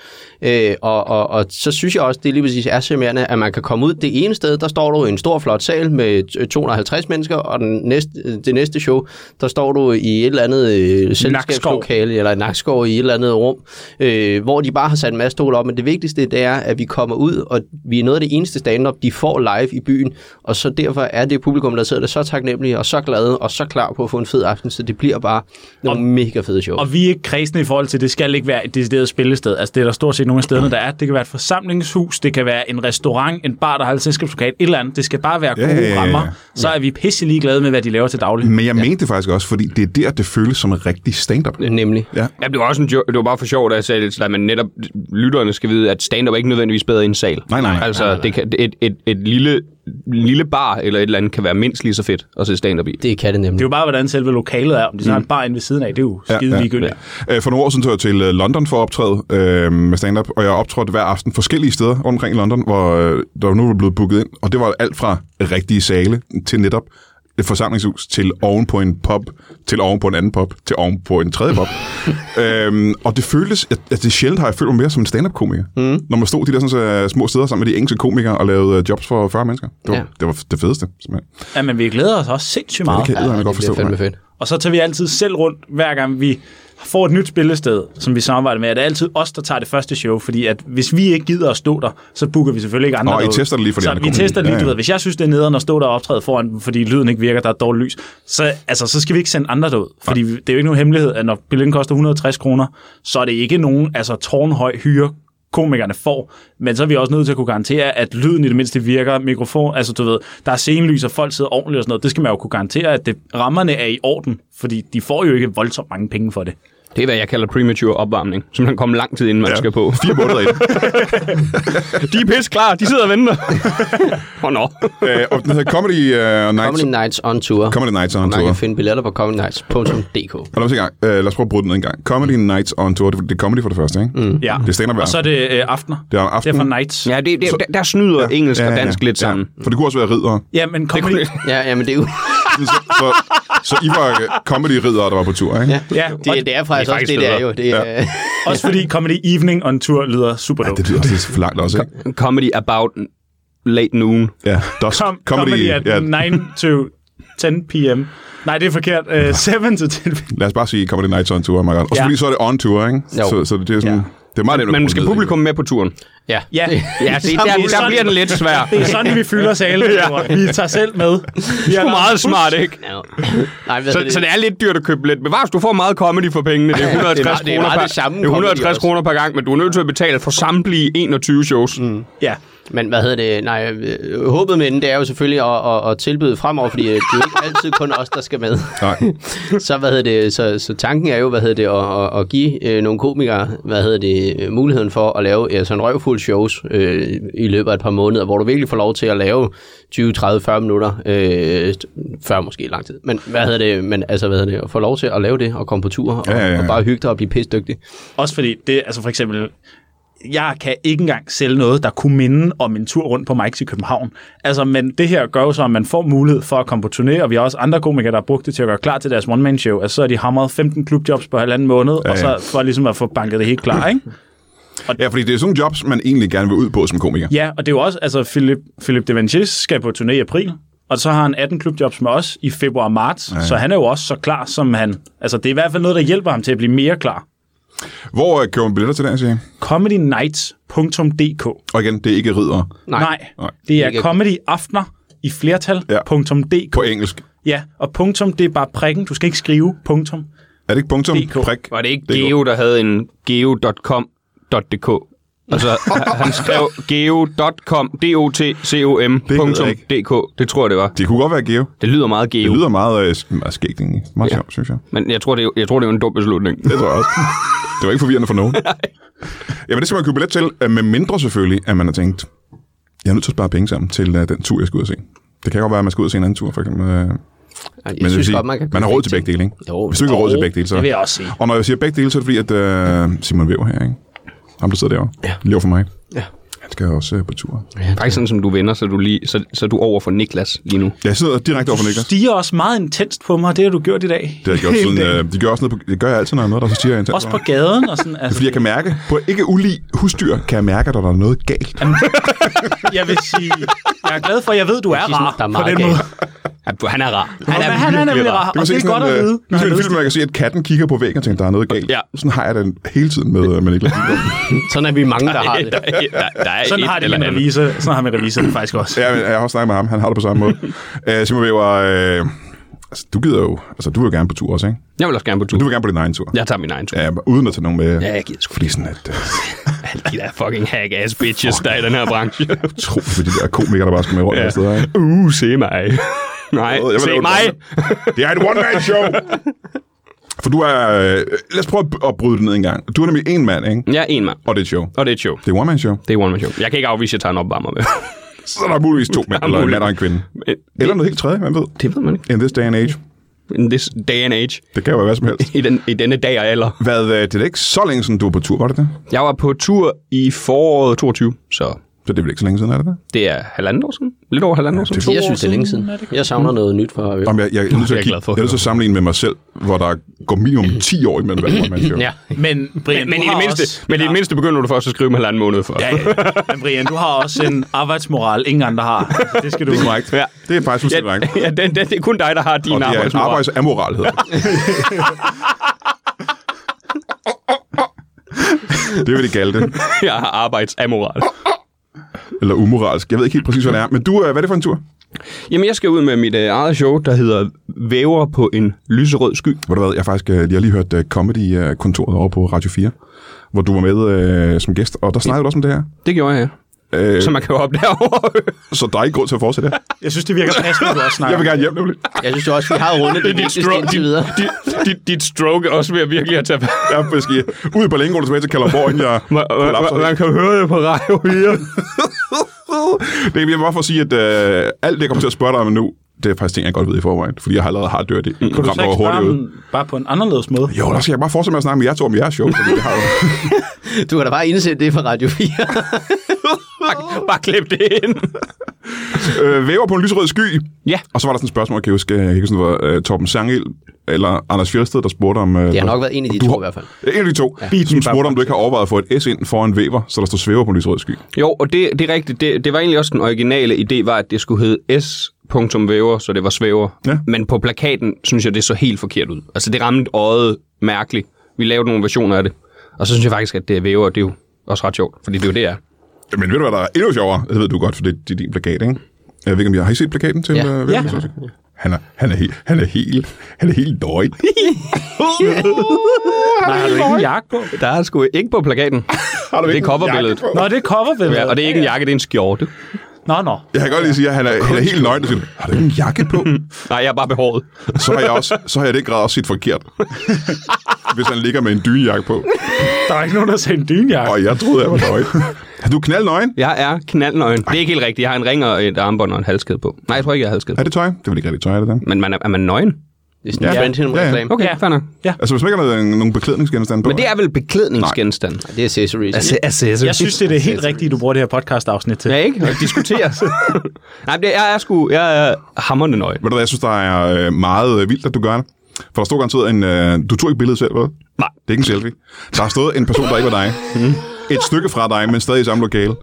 D: Øh, og, og, og, så synes jeg også, det lige præcis er charmerende, at man kan komme ud det ene sted, der står du i en stor flot sal med 250 mennesker, og den næste, det næste show, der står du i et eller andet øh, selskabslokale lokale eller en nakskov i et eller andet rum, øh, hvor de bare har sat en masse stole op. Men det vigtigste, det er, at vi kommer ud, og vi er noget af det eneste stand-up, de får live i byen. Og så derfor er det publikum, der sidder der så taknemmelige og så glade og så klar på at få en fed aften. Så det bliver bare nogle mega fede show.
B: Og vi er ikke kredsende i forhold til, det skal ikke være et decideret spillested. Altså, det er der stort set nogle af stederne, der er. Det kan være et forsamlingshus, det kan være en restaurant, en bar, der har et selskabslokal, et eller andet. Det skal bare være gode
A: Ja, Mm. ja, ja, ja.
B: rammer. Så er vi pisse ligeglade med, hvad de laver til daglig.
A: Men jeg ja. mente det faktisk også, fordi det er der, det føles som rigtig stand-up.
D: Nemlig.
C: Ja, det var også en jo- det var bare for sjovt, at jeg sagde det, at man netop lytterne skal vide, at stand-up er ikke nødvendigvis bedre end en sal.
A: Nej, nej.
C: Altså, Det kan, et, et, et lille, en lille bar eller et eller andet kan være mindst lige så fedt at se stand-up i.
D: Det kan det nemlig.
B: Det er jo bare, hvordan selve lokalet er. Om de så har en bar inde ved siden af, det er jo skide
A: ja,
B: ligegyldigt.
A: Øh, For nogle år siden tog jeg til øh, London for at optræde øh, med stand-up, og jeg optrådte hver aften forskellige steder rundt omkring i London, hvor øh, der nu var blevet booket ind, og det var alt fra rigtige sale til netop et forsamlingshus, til oven på en pop, til oven på en anden pop, til oven på en tredje pop. øhm, og det føltes, at, at det sjældent har jeg følt mig mere som en stand-up-komiker, mm. når man stod de der sådan, så, øh, små steder sammen med de engelske komikere og lavede øh, jobs for 40 mennesker. Det var,
D: Ja.
A: ja. det, var det fedeste, simpelthen.
B: Ja, men vi glæder os også sindssygt
A: Ja, det
B: meget.
A: kan jeg ja,
D: det
A: godt forstå.
D: bliver fandme
A: mand.
D: fedt.
B: Og så tager vi altid selv rundt, hver gang vi får et nyt spillested, som vi samarbejder med. Og Det er altid os, der tager det første show, fordi at hvis vi ikke gider at stå der, så booker vi selvfølgelig ikke andre
A: Nå, I
B: derud.
A: tester det lige for de
B: så
A: andre
B: vi
A: kommer.
B: tester lige,
A: Ja,
B: du
A: ja.
B: ved. Hvis jeg synes, det er nederen at stå der og optræde foran, fordi lyden ikke virker, der er dårligt lys, så, altså, så skal vi ikke sende andre derud. Fordi vi- det er jo ikke nogen hemmelighed, at når billetten koster 160 kroner, så er det ikke nogen altså, tårnhøj hyre komikerne får, men så er vi også nødt til at kunne garantere, at lyden i det mindste virker, mikrofon, altså du ved, der er scenelys, og folk sidder ordentligt og sådan noget, det skal man jo kunne garantere, at det, rammerne er i orden, fordi de får jo ikke voldsomt mange penge for det.
C: Det er, hvad jeg kalder premature opvarmning, som man kommer lang tid inden man ja. skal på.
A: Fire måneder ind.
C: De er pisse klar, de sidder og venter. Åh, nå.
A: øh, og den hedder Comedy øh, Nights.
D: Comedy Nights on Tour.
A: Comedy Nights on
D: Man
A: Tour.
D: kan finde billetter på comedynights.dk.
A: Og lad, os se gang. Øh, lad os prøve at bryde den ned en gang. Comedy Nights on Tour. Det, det er comedy for det første, ikke? Mm.
B: Ja.
A: Det er stand-up hver
B: Og så er det øh, aftener.
A: Det er om aftenen.
B: Det er for nights. Ja,
C: Ja, det, det, der, der snyder ja. engelsk og dansk lidt sammen.
A: For det kunne også være ridder.
B: ja men kom
C: kunne-
B: lige.
D: Ja, jamen det er jo...
A: så, så, så I var øh, comedy-riddere, der var på tur, ikke?
D: Ja,
B: Ja,
D: det, det, er faktisk også
C: faktisk
D: det, det er
C: bedre.
D: jo. Det, ja.
B: Også fordi Comedy Evening on Tour lyder super ja,
A: Det lyder også lidt for langt også, ikke?
C: Comedy about late noon.
A: Ja, dusk.
B: Kom, comedy, comedy at
A: ja,
B: 9 to 10 p.m. Nej, det er forkert. Uh, 7 to 10 p.m.
A: lad os bare sige Comedy Nights on Tour, my God. Og
B: Ja.
A: selvfølgelig så er det on tour, ikke?
D: Jo.
A: Så, så det er sådan...
B: Ja.
A: Det er meget nemt at
C: Man
A: bruge
C: skal
A: ned, ikke?
C: publikum med på turen.
D: ja.
B: Ja,
C: Ja, det, der, der bliver den lidt svær.
B: det er sådan, vi fylder salen. ja. Vi tager selv med. Vi
C: Det er meget smart, ikke?
D: Ja. Nej, hvad
C: Så,
D: hedder det?
C: så det er lidt dyrt at købe lidt. Bevares, du får meget comedy for pengene. Det er 160
D: meget- det er
C: kroner
D: meget
C: per,
D: det samme
C: det er 160
D: comedy
C: kroner per gang, men du er nødt til at betale for samtlige 21 shows. Mm.
B: Ja.
D: Men hvad hedder det? Nej, øh, håbet med den, det er jo selvfølgelig at, at, at tilbyde fremover, fordi øh, det er jo ikke altid kun os, der skal med.
A: Nej.
D: så, hvad hedder det, så, så tanken er jo, hvad hedder det, at, at, at give øh, nogle komikere, hvad hedder det, øh, muligheden for at lave øh, sådan røvfuld shows øh, i løbet af et par måneder, hvor du virkelig får lov til at lave 20, 30, 40 minutter, øh, før måske lang tid. Men hvad hedder det, men altså, hvad hedder det, at få lov til at lave det og komme på tur og,
A: Ja, ja, ja.
D: og bare hygge dig og blive pisse dygtig.
B: Også fordi det, altså for eksempel, jeg kan ikke engang sælge noget, der kunne minde om en tur rundt på Mike's i København. Altså, men det her gør jo så, at man får mulighed for at komme på turné, og vi har også andre komikere, der har brugt det til at gøre klar til deres one-man-show. Altså, så har de hamret 15 klubjobs på halvanden måned, ja, ja. og så for ligesom at få banket det helt klar, ikke?
A: Ja, fordi det er sådan nogle jobs, man egentlig gerne vil ud på som komiker.
B: Ja, og det er jo også, altså Philip, Philip Devanchis skal på turné i april, og så har han 18 klubjobs med os i februar og marts, ja. så han er jo også så klar, som han... Altså, det er i hvert fald noget, der hjælper ham til at blive mere klar.
A: Hvor øh, køber man billetter til den, siger jeg?
B: comedynights.dk
A: Og igen, det er ikke ridder
B: Nej, Nej, det er
D: Ikke-
B: comedyaftener i
A: Ja.
B: flertal.dk.
A: på engelsk.
B: Ja, og punktum, det er bare prikken. Du skal ikke skrive punktum.
A: Er det ikke punktum?
B: DK.
A: Prik?
C: Var det ikke
A: Det er
C: Geo, der havde en geo.com.dk? Altså, han skrev geo.com, d o t c o m
A: jeg
C: .dk. Det tror jeg, det var.
A: Det kunne godt være Geo.
C: Det lyder meget geo,
A: Det lyder meget, øh, sk- meget skægt, egentlig. Meget
C: Ja.
A: sjovt, synes jeg.
C: men jeg tror, det er, jeg tror, det er en dum beslutning.
A: Det tror jeg også. Det var ikke forvirrende for nogen. Jamen, det skal man købe billet til, øh, med mindre selvfølgelig, at man har tænkt, jeg er nødt til at spare penge sammen til øh, den tur, jeg skal ud og se. Det kan godt være, at man skal ud og se en anden tur, for eksempel. øh, Men
D: Jeg
A: jeg vil
D: synes
A: sige,
D: godt, man kan
A: man har
D: købe
A: råd til
D: ting.
A: begge dele, ikke?
D: Jo,
A: Hvis du ikke har råd til
B: jo,
A: begge dele, så...
B: det vil jeg også sige.
A: Og når jeg siger begge dele, så er det fordi, at øh, Simon Wever her, ikke? Ham, der sidder derovre. Ja. Lever for mig.
D: Ja.
A: Han skal også øh, på tur.
C: Faktisk sådan, som du vender, så er du, lige, så, så er du over for Niklas lige nu.
A: Jeg sidder direkte over for Niklas.
B: Stiger også meget intenst på mig, og det har du gjort i dag.
A: Det har jeg gjort
B: Hele
A: siden,
B: dagen.
A: øh, de gør også noget på, det gør jeg altid, når jeg er noget, der så stiger jeg internt.
B: Også på gaden og sådan. Altså,
A: Fordi jeg kan mærke, på ikke ulig husdyr, kan jeg mærke, at der er noget galt.
B: altså, jeg vil sige, jeg er glad for, at jeg ved, du er
D: Jeg synes,
B: rar
D: der er
B: på
D: meget
B: den
D: galt.
B: måde.
C: Ja, du- Han er rar.
B: Han er, han er nemlig rar,
A: man
B: og det er
A: sådan
B: godt
A: en,
B: at
A: øh,
B: vide.
A: Det er sådan en
B: når
A: film, hvor jeg
B: han
A: kan se, at katten kigger på væggen og tænker, der er noget galt.
C: Ja.
A: Sådan har jeg den hele tiden med, øh, med Niklas.
D: Sådan er vi mange, der har det.
C: Der, der, der er
B: sådan
C: et
B: har det
C: eller
B: min
C: andet.
B: revisor. Sådan har min revisor det faktisk også.
A: ja, men jeg har også snakket med ham. Han har det på samme måde. Øh, Simon Weber, øh, altså, du gider jo, altså, du vil jo gerne på tur også, ikke?
C: Jeg vil også gerne på
A: Du
C: tur.
A: vil gerne på din egen tur.
C: Jeg tager min egen tur.
A: Ja, men uden at tage nogen med.
C: Ja, jeg gider sgu
A: Fordi sådan, at øh,
C: Alle de der fucking hack-ass bitches, der er i den her branche.
A: tro for de der komikere, der bare skal med rundt ja. steder, ikke?
C: Uh, se mig. Nej,
A: Jeg vil
C: se
A: lave et
C: mig.
A: one- Det er et one-man-show! For du er... Øh, lad os prøve at, at bryde det ned en gang. Du er nemlig en mand, ikke?
C: Jeg er en mand,
A: Og det er et show.
C: og det er et show.
A: Det er et one-man-show.
C: Det er one man show. Jeg kan ikke afvise, at jeg tager en opvarmer med.
A: Så er der muligvis to mænd, eller en
C: muligvis. Øh,
A: mand og en kvinde.
C: Men
A: Eller noget helt tredje, man ved.
C: det ved man ikke.
A: In this day and age.
C: In this day and age.
A: Det kan jo være hvad som helst.
C: I, den, i denne dag og alder.
A: Hvad, øh, det er da ikke så længe siden, du var på tur, var det det?
C: Jeg var på tur i foråret 22, så
A: Så det er vel ikke så længe siden, er det det?
C: det er halvandet år siden. Lidt over halvandet år siden.
D: Jeg synes, det er længe siden. Jeg savner noget nyt fra øvrigt.
A: Om jeg, jeg, jeg, er nødt til at
C: jeg er
A: kigge,
C: glad for at
A: jeg er nødt til at sammenligne med mig selv, hvor der går minimum 10 år imellem hver one-man-show.
D: Ja,
B: Men Brian,
C: Men
B: du
C: i, det
B: har
C: mindste,
B: også,
C: men i det mindste begynder du først at skrive med halvanden måned før. Ja,
B: men Brian, du har også en arbejdsmoral, ingen andre har. Det skal du...
A: Det er korrekt.
C: Ja.
A: Det er faktisk fuldstændig korrekt.
C: ja det, det, det, er kun dig, der har
A: Og
C: din
A: det er en
C: arbejdsmoral.
A: arbejdsamoral, hedder det. Det er jo det galde.
C: Jeg har arbejdsamoral.
A: Eller umoralsk. Jeg ved ikke helt præcis, hvad det er. Men du, øh, hvad er det for en tur?
C: Jamen, jeg skal ud med mit øh, eget show, der hedder Væver på en lyserød sky.
A: Ved du hvad, jeg har faktisk øh, jeg har lige hørt øh, Comedy-kontoret over på Radio 4, hvor du var med øh, som gæst, og der snakkede du også om det her.
C: Det gjorde jeg,
A: Øh,
C: så man kan jo hoppe derovre.
A: så der er ikke grund til at fortsætte her.
B: Jeg synes, det virker passende, du også snakker.
A: Jeg vil gerne hjem nemlig.
D: jeg synes jo også, vi har rundet det vigtigste indtil videre.
C: dit, dit, dit stroke er også ved at virkelig at tage
A: Jeg er måske ud i Berlingo, tilbage til Kalderborg, inden jeg kollapser.
C: Man kan jo høre det på radio her.
A: Det kan jeg bare for at sige, at øh, alt det, jeg kommer til at spørge dig om nu, det er faktisk ting, jeg godt ved i forvejen, fordi jeg allerede har dørt det. i et
B: Mm. Kunne du
A: program,
B: så
A: der var
B: ikke spørge
A: hurtigt ude.
B: om, bare på en anderledes måde?
A: Jo, der skal jeg bare fortsætte med at snakke med jer to om jeres show, fordi det har jo...
D: Du kan da bare indsætte det fra Radio 4.
C: Bare, bare klip det ind.
A: øh, væver på en lyserød sky.
C: Ja.
A: Og så var der sådan et spørgsmål, kan jeg huske, jeg kan ikke huske, om det var uh, Torben Sangel eller Anders Fjelsted, der spurgte om... Uh,
D: Det har nok været en af de to i hvert fald.
A: En af de to, ja. som spurgte, om du ikke har overvejet at få et S ind foran væver, så der står svæver på en lyserød sky.
C: Jo, og det, det er rigtigt. Det, det var egentlig også den originale idé, var, at det skulle hedde S. Væver, så det var svæver.
A: Ja.
C: Men på plakaten synes jeg, det så helt forkert ud. Altså, det ramte øjet mærkeligt. Vi lavede nogle versioner af det. Og så synes jeg faktisk, at det er væver, og det er jo også ret sjovt, fordi det er jo det, jeg er.
A: Men ved du, hvad der er endnu sjovere? Det ved du godt, for det, det er din plakat, ikke? Jeg ved ikke, om jeg har I set plakaten til
D: Ja.
A: ja. væver? Ja. Han er, han er, helt, han er helt, han er helt døjt.
B: Nej, har du ikke en jakke på?
C: Der er sgu ikke på plakaten.
A: Har du
C: Det er
A: ikke en
C: coverbilledet.
A: jakke på?
B: Nå, det er coverbilledet.
C: Ja, og det er ikke en jakke, det er en skjorte.
B: Nå, nå.
A: Jeg kan godt lige sige, at han er, han er helt nøgen, og siger, har du ikke en jakke på?
C: Nej, jeg er bare behåret.
A: så har jeg også, så har jeg i den grad også set forkert. Hvis han ligger med en dynejakke på.
B: Der er ikke nogen, der sagde en dynjakke.
A: Og jeg troede, jeg var nøgen. Er du knaldnøgen?
C: Jeg er knaldnøgen. Det er ikke helt rigtigt. Jeg har en ring og et armbånd og en halskæde på. Nej, jeg tror ikke, jeg har halskæde på.
A: Er det tøj? Det er vel ikke rigtig tøj, er det der?
C: Men man er, er man nøgen?
D: Det er sådan en trend til nogle
A: Ja, ja.
D: reklame.
C: Okay,
B: Ja.
C: ja. fair nok.
A: Altså, hvis man ikke har noget, nogen beklædningsgenstande på.
C: Men det er vel beklædningsgenstand?
D: Det er accessories.
A: Altså,
C: accessories.
B: Jeg synes, det er det helt rigtige, du bruger det her podcast-afsnit til.
C: Ja, ikke? Og diskuteres. Nej, men det, jeg er sgu... Jeg er hammerende nøgen.
A: Ved du hvad, jeg synes, der er øh, meget øh, vildt, at du gør det. For der stod garanteret en... Øh, du tog ikke billedet selv, vel?
C: Nej.
A: Det er ikke en selfie. Der har stået en person, der ikke var dig. Et stykke fra dig, men stadig i samme lokale.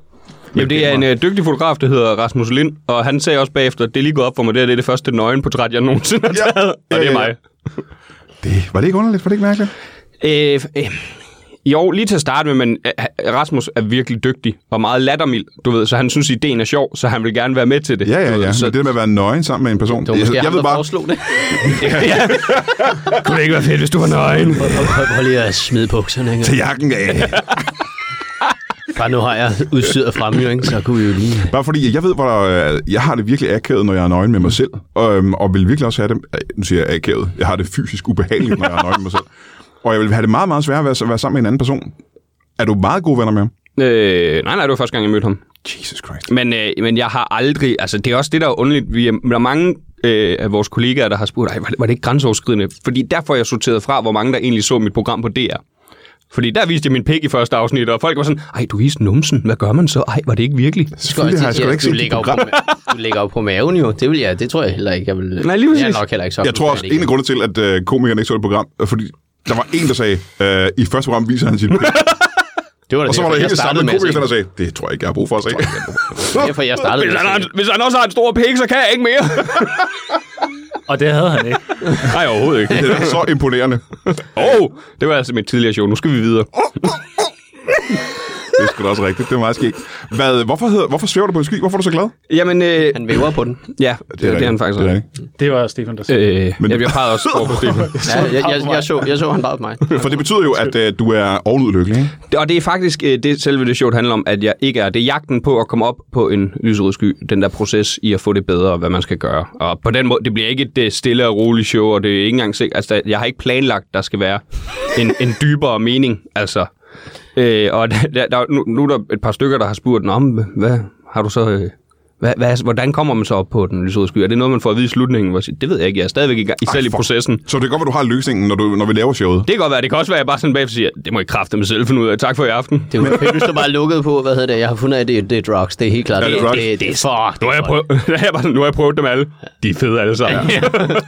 C: Jamen, det er en øh, dygtig fotograf, der hedder Rasmus Lind, og han sagde også bagefter, det er lige gået op for mig, det, her, det er det første nøgenportræt, jeg nogensinde har
A: Ja.
C: taget, og
A: Ja,
C: det er
A: ja,
C: mig.
A: ja. Det, var det ikke underligt? Var det ikke mærkeligt?
C: Øh, øh, jo, lige til at starte med, men øh, Rasmus er virkelig dygtig og meget lattermild, du ved, så han synes, ideen er sjov, så han vil gerne være med til det.
A: Ja, ja,
C: du ved,
A: ja.
C: Så
A: Men det der med at være nøgen sammen med en person.
D: Det var måske
A: jeg, jeg
D: ham,
A: ved
D: der
A: bare,
D: foreslog det.
C: kunne det ikke være fedt, hvis du var nøgen.
D: Prøv- prøv- Prøv lige at smide bukserne, ikke?
A: til jakken af.
D: Bare nu har jeg udstyret fremme, jo, ikke? så kunne vi jo lige...
A: Bare fordi, jeg ved, hvor der, øh, jeg har det virkelig akavet, når jeg er nøgen med mig selv, og, øhm, og vil virkelig også have det, øh, nu siger jeg akavet, jeg har det fysisk ubehageligt, når jeg er nøgen med mig selv, og jeg vil have det meget, meget svært at være, at være sammen med en anden person. Er du meget gode venner med ham?
C: Øh, nej, nej, det var første gang, jeg mødte ham.
A: Jesus Christ.
C: Men, øh, men jeg har aldrig... Altså, det er også det, der er underligt. Vi er, der er mange øh, af vores kollegaer, der har spurgt, Ej, var, det, var det ikke grænseoverskridende? Fordi derfor er jeg sorteret fra, hvor mange der egentlig så mit program på DR. Fordi der viste jeg min pik i første afsnit, og folk var sådan, ej, du viste numsen, hvad gør man så? Ej, var det ikke virkelig?
A: Selvfølgelig har jeg sgu da ikke
D: du,
A: set dit
D: ligger jo på,
A: program.
D: ma- du ligger jo på maven jo. Det, vil jeg, det tror jeg heller ikke, jeg vil...
C: Nej, lige
D: jeg er
C: præcis.
D: nok heller ikke så.
A: Jeg tror også, en af grundene til, at øh, komikerne ikke så det program, er fordi der var en, der sagde, øh, i første program viser han sin pik.
D: Det var da
A: Og så var der
D: derfor,
A: hele
D: jeg startede
A: samme
D: med at
A: komiker, der
D: se.
A: sagde, det tror jeg ikke, jeg har brug for at se.
D: Derfor jeg startede
C: Hvis
D: med
C: han,
D: at
C: har,
D: se.
C: hvis han også har en stor pik, så kan jeg ikke mere.
B: Og det havde han ikke.
C: Nej, overhovedet ikke.
A: Det er så imponerende.
C: Åh, oh, det var altså mit tidligere show. Nu skal vi videre.
A: Det er sgu da også rigtigt. Det er meget skægt. Hvad, hvorfor, hedder, hvorfor svæver du på en sky? Hvorfor er du så glad?
C: Jamen, øh,
D: Han væver på den.
C: ja, det, det, det er han faktisk
A: Det er
C: også.
A: rigtigt.
B: Det var Stefan, der sagde. Øh.
C: Øh,
A: Men-
C: men... Jeg bliver peget også over på Stefan.
D: Ja, jeg, jeg, jeg, så, jeg så, han bare på mig.
A: For det betyder jo, at øh, du er ovenud lykkelig, ikke?
C: Det- Og det er faktisk øh, det, selve det showet handler om, at jeg ikke er. Det er jagten på at komme op på en lyserød sky. Den der proces i at få det bedre, og hvad man skal gøre. Og på den måde, det bliver ikke et øh, stille og roligt show, og det er ikke engang sikkert. Altså, der- jeg har ikke planlagt, der skal være en, en dybere mening, altså. Øh, og der, der, der, nu, nu er der et par stykker, der har spurgt, Nå, men hvad har du så... Øh, hvad, hvad, hvordan kommer man så op på den lyserøde sky? Er det noget, man får at vide i slutningen? Hvor jeg siger, Det ved jeg ikke. Jeg er stadigvæk i gang, i selv i
A: fuck.
C: processen.
A: Så det kan godt være, du har løsningen, når, du, når vi laver showet.
C: Det kan godt være. Det kan også være, at jeg bare sådan bagefter siger, det må I kræfte mig selv finde ud af. Tak for i aften.
D: Det var fedt, hvis du bare lukkede på, hvad hedder det, jeg har fundet af, at det, det er drugs, det er helt klart.
A: Ja, det er drugs.
D: Det, det er fuck.
C: Nu har, jeg prøvet, jeg bare, nu har jeg prøvet dem alle. De er fede alle sammen. Ja.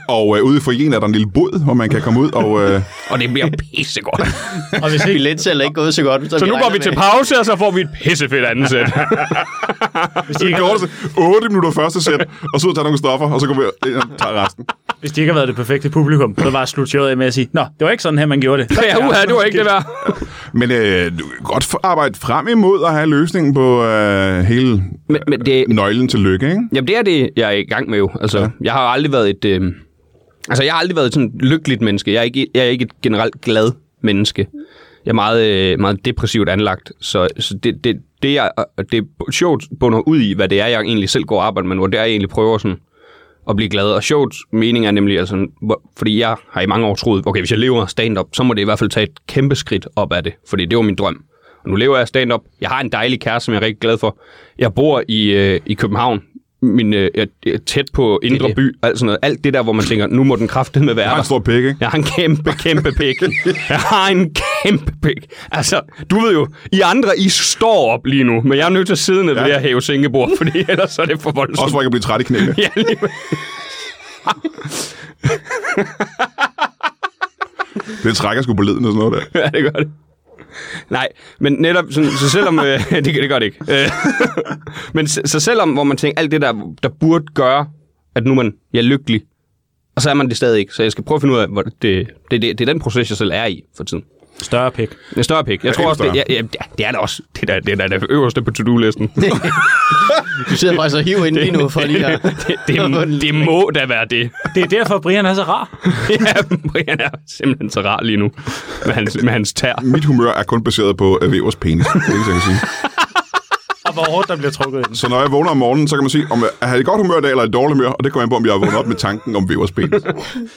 A: Og øh, ude i forjen er der en lille bod, hvor man kan komme ud og... Øh,
C: og det bliver pissegodt. Øh.
B: Og hvis ikke,
D: Billetsalget er ikke gået så godt.
C: så nu går vi til pause, og så får vi et pissefedt andet sæt.
B: hvis, de ikke,
A: gjorde det 8 minutter første sæt, og så ud og tager nogle stoffer, og så går vi ind og tager resten.
B: hvis de ikke har været det perfekte publikum, så bare slut showet af med at sige, Nå, det var ikke sådan her, man gjorde det.
C: ja, uha, det var ikke det værd.
A: Men øh, du kan godt få- arbejde frem imod at have løsningen på øh, hele
C: Men, men det,
A: nøglen til lykke, ikke?
C: jamen det er det, jeg er i gang med jo. Altså, ja. Jeg har aldrig været et... Øh, altså, jeg har aldrig været sådan et lykkeligt menneske. Jeg er ikke, jeg er ikke et generelt glad menneske. Jeg er meget, øh, meget depressivt anlagt. Så, så det, det, det, jeg, det er sjovt bunder ud i, hvad det er, jeg egentlig selv går og arbejder med nu. Og det er, jeg egentlig prøver sådan at blive glad. Og sjovt mening er nemlig, altså, hvor- fordi jeg har i mange år troet, okay, hvis jeg lever af stand-up, så må det i hvert fald tage et kæmpe skridt op af det, fordi det var min drøm. Og nu lever jeg af stand-up. Jeg har en dejlig kæreste, som jeg er rigtig glad for. Jeg bor i, øh, i København, min, øh, jeg jeg er tæt på Indre
D: det.
C: By, alt sådan noget. Alt det der, hvor man tænker, nu må den kraftedeme være
A: Jeg har
C: der.
A: en stor pik, ikke?
C: Jeg har en kæmpe, kæmpe pik. Jeg har en kæmpe pik. Altså, du ved jo, I andre, I står op lige nu, men jeg er nødt til at sidde ned ved
A: Ja.
C: det her hæve sænkebord, fordi ellers er det for voldsomt.
A: Også for ikke at blive træt i knæene.
C: Ja, lige...
A: Det trækker sgu på leden og sådan noget der.
C: ja, det gør det. Nej, men netop, sådan, så selvom, øh, det, det gør det ikke, øh, men så, så selvom, hvor man tænker, alt det der, der burde gøre, at nu man, jeg er lykkelig, og så er man det stadig ikke, så jeg skal prøve at finde ud af, hvor det, det, det, det er den proces, jeg selv er i for tiden.
B: Større pik.
C: En større pik. Jeg tror
A: endnu
C: også, det, ja, ja, det er det også. Det er da- det, er da det øverste på to-do-listen. det,
D: Du sidder faktisk og hiver ind lige nu, for lige at...
C: det, det, det må da være det.
B: Det er derfor, Brian er så rar.
C: ja, Brian er simpelthen så rar lige nu med hans, med hans tær.
A: Mit humør er kun baseret på øh, Vævers penis. Det er det, jeg kan sige.
B: Og hvor hårdt der bliver trukket ind.
A: Så når jeg vågner om morgenen, så kan man sige, om jeg er i et godt humør i dag, eller i et dårligt humør, og det kommer an på, om jeg har vågnet op med tanken om Vævers penis.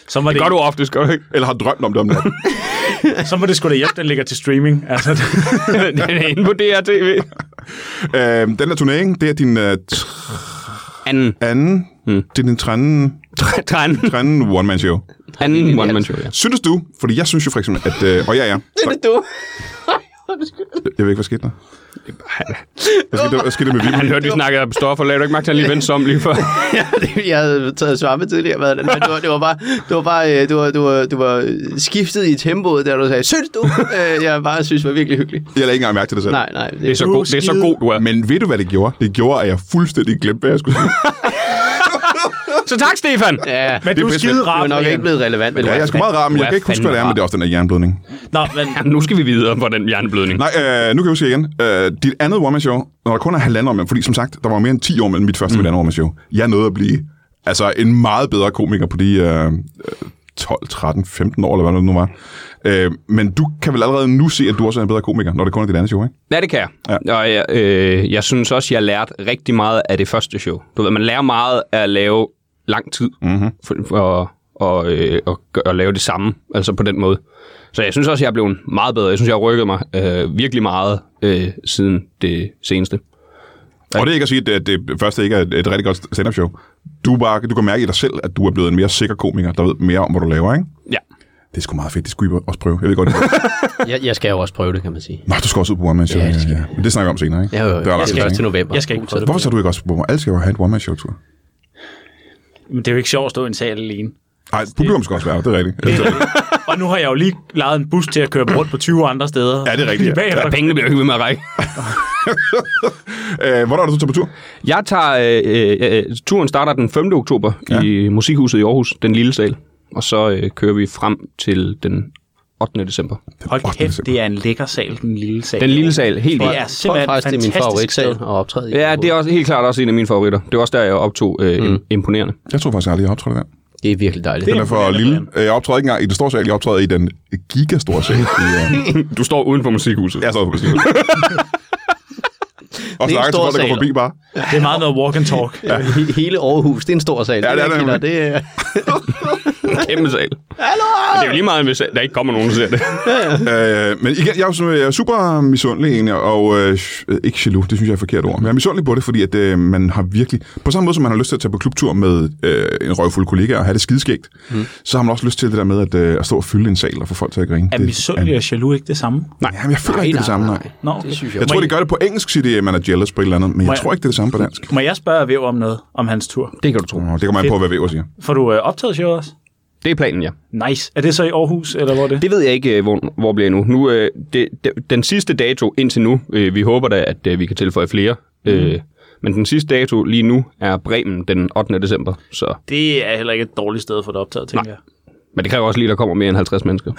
B: Så må det,
C: Gør
B: det,
C: du ofte, gør du ikke?
A: Eller har drømt om det om natten.
B: så må det sgu da hjælpe, den ligger til streaming. Altså, det,
C: Den er inde på DRTV.
A: øh, den her turnering, det er din øh, tr-
C: Anden.
A: anden, hmm. det er din trænden,
C: Træn.
A: trænden one-man-show.
C: Anden one-man-show, ja.
A: Synes du, fordi jeg synes jo for eksempel, at... Øh, og ja, ja.
D: Det er du.
A: Jeg ved ikke, hvad skete der? Hvad skete der, hvad skete der med
C: Han
A: Viben?
C: hørte, vi snakkede om stoffer. Lad du ikke mærke, til, at han lige vendte sig om lige før?
D: Ja, det- jeg havde taget svampe tidligere, hvad det, men det var, det var bare, det var bare, øh, du var, du var, du var øh, skiftet i tempoet, da du sagde, synes du? Øh, jeg bare synes, det var virkelig hyggeligt.
A: Jeg lagde ikke engang mærke til det selv.
D: Nej, nej.
C: Det er så god, det er så god du er.
A: Men ved du, hvad det gjorde? Det gjorde, at jeg fuldstændig glemte, hvad jeg skulle sige.
C: Så tak, Stefan.
D: Ja,
B: men du er
A: pisse
B: skide
D: det
B: rar,
D: var nok
B: Brian.
D: ikke blevet relevant. Men
A: Ja, jeg er sgu meget rar, men
C: Du
A: jeg
C: er
A: kan ikke huske, hvad det er,
C: fandme
A: men det er også den der jernblødning.
B: Nå, men
C: Jamen, nu skal vi videre på den hjerneblødning.
A: Nej, øh, nu kan jeg huske igen. Øh, dit andet one-man-show, når der kun er halvandet år mellem, fordi som sagt, der var mere end 10 år mellem mit første og mit andet one-man-show. Jeg nåede at blive altså, en meget bedre komiker på de øh, 12, 13, 15 år, eller hvad det nu var. Øh, men du kan vel allerede nu se, at du også er en bedre komiker, når det kun er dit andet show, ikke?
C: Ja, det kan jeg. Ja. Og jeg, øh, jeg synes også, jeg lærte rigtig meget af det første show. Du ved, man lærer meget af at lave lang tid, mm-hmm. for, for, og, øh, og, gø- og lave det samme, altså på den måde. Så jeg synes også, jeg er blevet meget bedre. Jeg synes, jeg har rykket mig øh, virkelig meget øh, siden det seneste.
A: Og det er ikke at sige, at det, det første ikke er et, et rigtig godt stand-up show. Du, er bare, du kan mærke i dig selv, at du er blevet en mere sikker komiker, der ved mere om, hvad du laver, ikke?
C: Ja.
A: Det er sgu meget fedt, det skulle I også prøve. Jeg ved godt, det er-
D: jeg, jeg skal jo også prøve det, kan man sige.
A: Nå, du skal også ud på One Man Show.
D: Ja, det skal
A: ja. Men det snakker vi om senere, ikke?
D: Ja, jo, jo.
A: Det er
D: Jeg
A: ret
D: skal
A: fedt,
D: også til
A: ikke?
D: november.
B: jeg skal ikke prøve det.
A: Hvorfor tager du ikke også på Alle skal jo have et One Man Show-tur.
B: Men det er jo ikke sjovt at stå i en sal alene.
A: Nej,
D: Altså,
A: publikum skal også være, det er rigtigt. Det er,
B: Og nu har jeg jo lige lejet en bus til at køre rundt på 20 andre steder.
A: ja, det er rigtigt.
B: Lige bagefter.
C: Pengene bliver jo ikke ved med at række.
A: Ja. Øh, hvornår er du så på tur?
C: Jeg tager... Øh, øh, øh, turen starter den 5. oktober ja. i Musikhuset i Aarhus, den lille sal. Og så øh, kører vi frem til den 8. december.
B: Hold kæft, det er en lækker sal, den lille sal.
C: Den lille sal, helt
B: Det
C: vildt.
B: er
D: Jeg tror
B: simpelthen
D: faktisk, det er min
B: fantastisk
D: favoritsal
B: sted.
D: at optræde i.
C: Ja, det er også helt klart også en af mine favoritter. Det var også der, jeg optog øh, mm. imponerende.
A: Jeg tror faktisk aldrig, jeg optrådte der.
D: det er virkelig dejligt.
A: Den er for
B: imponerende,
A: lille. Øh, Jeg optræder ikke engang i det store sal, jeg optræder i den gigastore sal. I, øh,
C: Du står uden for musikhuset.
A: Jeg sad på beskrivelsen. Og
D: en
A: snakker til
D: stor
A: folk, der går
D: sal.
A: forbi bare.
B: Det er meget noget walk and talk.
D: Ja. He- Hele Aarhus, det er en stor sal.
A: Ja, det er det
D: Kender, det er,
C: Kæmpe sal. Hallo! Det er jo lige meget, hvis der ikke kommer nogen, der ser det.
A: Øh, men igen, jeg er jo sådan, øh, jeg er super misundelig egentlig, og øh, øh, ikke jaloux, det synes jeg er et forkert ord. Men jeg er misundelig på det, fordi at, øh, man har virkelig, på samme måde som man har lyst til at tage på klubtur med øh, en røvfuld kollega og have det skideskægt, mm. så har man også lyst til det der med at, øh, at stå og fylde en sal og få folk til at grine.
B: Er
A: det,
B: misundelig og jaloux ikke det samme?
A: Nej, jamen, jeg føler nej, ikke det, er det samme. Nej.
B: Nå, okay.
D: synes
A: Jeg tror, det gør det på engelsk, siger det, at man er jealous på et eller andet, men
B: Må
A: jeg
B: jeg-
A: tror ikke, det er det samme på dansk.
B: Må jeg spørge Væv om noget, om hans tur?
C: Det kan du tro.
A: Nå, Det kommer an på, hvad Væver siger.
B: Får du øh, optaget showet også?
C: Det er planen, ja.
B: Nice. Er det så i Aarhus, eller hvor er det?
C: Det ved jeg ikke, øh, hvor, hvor bliver jeg nu. nu øh, det, det, den sidste dato indtil nu, øh, vi håber da, at øh, vi kan tilføje flere. Mm. Øh, men den sidste dato lige nu er Bremen den 8. december. Så.
B: Det er heller ikke et dårligt sted for det optaget, tænker jeg.
C: Men det kræver også lige, at der kommer mere end 50 mennesker.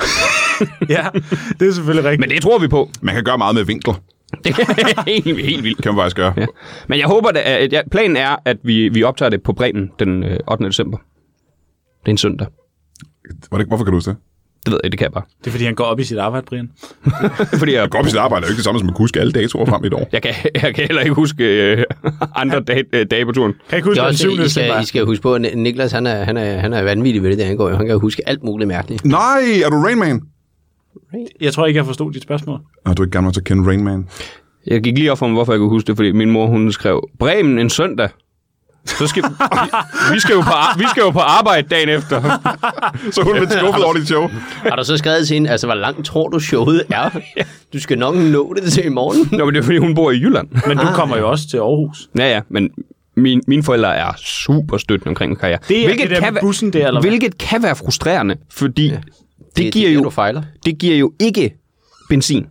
B: Ja, det er selvfølgelig rigtigt.
C: Men det tror vi på.
A: Man kan gøre meget med vinkler,
C: Det er helt, helt vildt.
A: kan man faktisk gøre.
C: Ja. Men jeg håber, da, at jeg, planen er, at vi, vi optager det på Bremen den øh, 8. december. Det er en søndag.
A: Var det, hvorfor kan du huske det?
C: Det ved jeg, det kan jeg bare.
B: Det er, fordi han går op i sit arbejde, Brian.
C: Fordi jeg,
A: Gå op i sit arbejde er jo ikke det samme, som at kunne huske alle datoer frem i et år.
C: jeg, kan, jeg kan heller ikke huske øh, andre dage, øh, dage på turen.
B: Kan ikke huske,
D: det er
B: hvad den
D: også,
B: syvende
D: I, skal, I skal huske på, at Ni- Niklas, han er, han er, han er vanvittig ved det, der angår. jo. Han kan jo huske alt muligt mærkeligt.
A: Nej, er du Rain Man?
B: Jeg tror ikke, jeg forstod dit spørgsmål.
A: Nå, du er ikke gammel nok til at kende Rain Man.
C: Jeg gik lige op for mig, hvorfor jeg kunne huske det, fordi min mor, hun skrev, Bremen en søndag. Så skal vi, vi, skal jo på, ar- vi skal jo på arbejde dagen efter.
A: Så hun blev skuffet over dit show.
D: Har du så skrevet til hende, altså, hvor langt tror du showet er? Du skal nok nå det til i morgen.
C: Nå, men det er fordi, hun bor i Jylland.
B: Men du kommer jo også til Aarhus.
C: Ja, ja, men min, mine forældre er super støttende omkring min karriere.
B: Det er det der med
C: være-
B: bussen der, eller hvad?
C: Hvilket kan være frustrerende, fordi ja. det, det, giver
D: det,
C: jo,
D: du fejler.
C: det giver jo ikke benzin.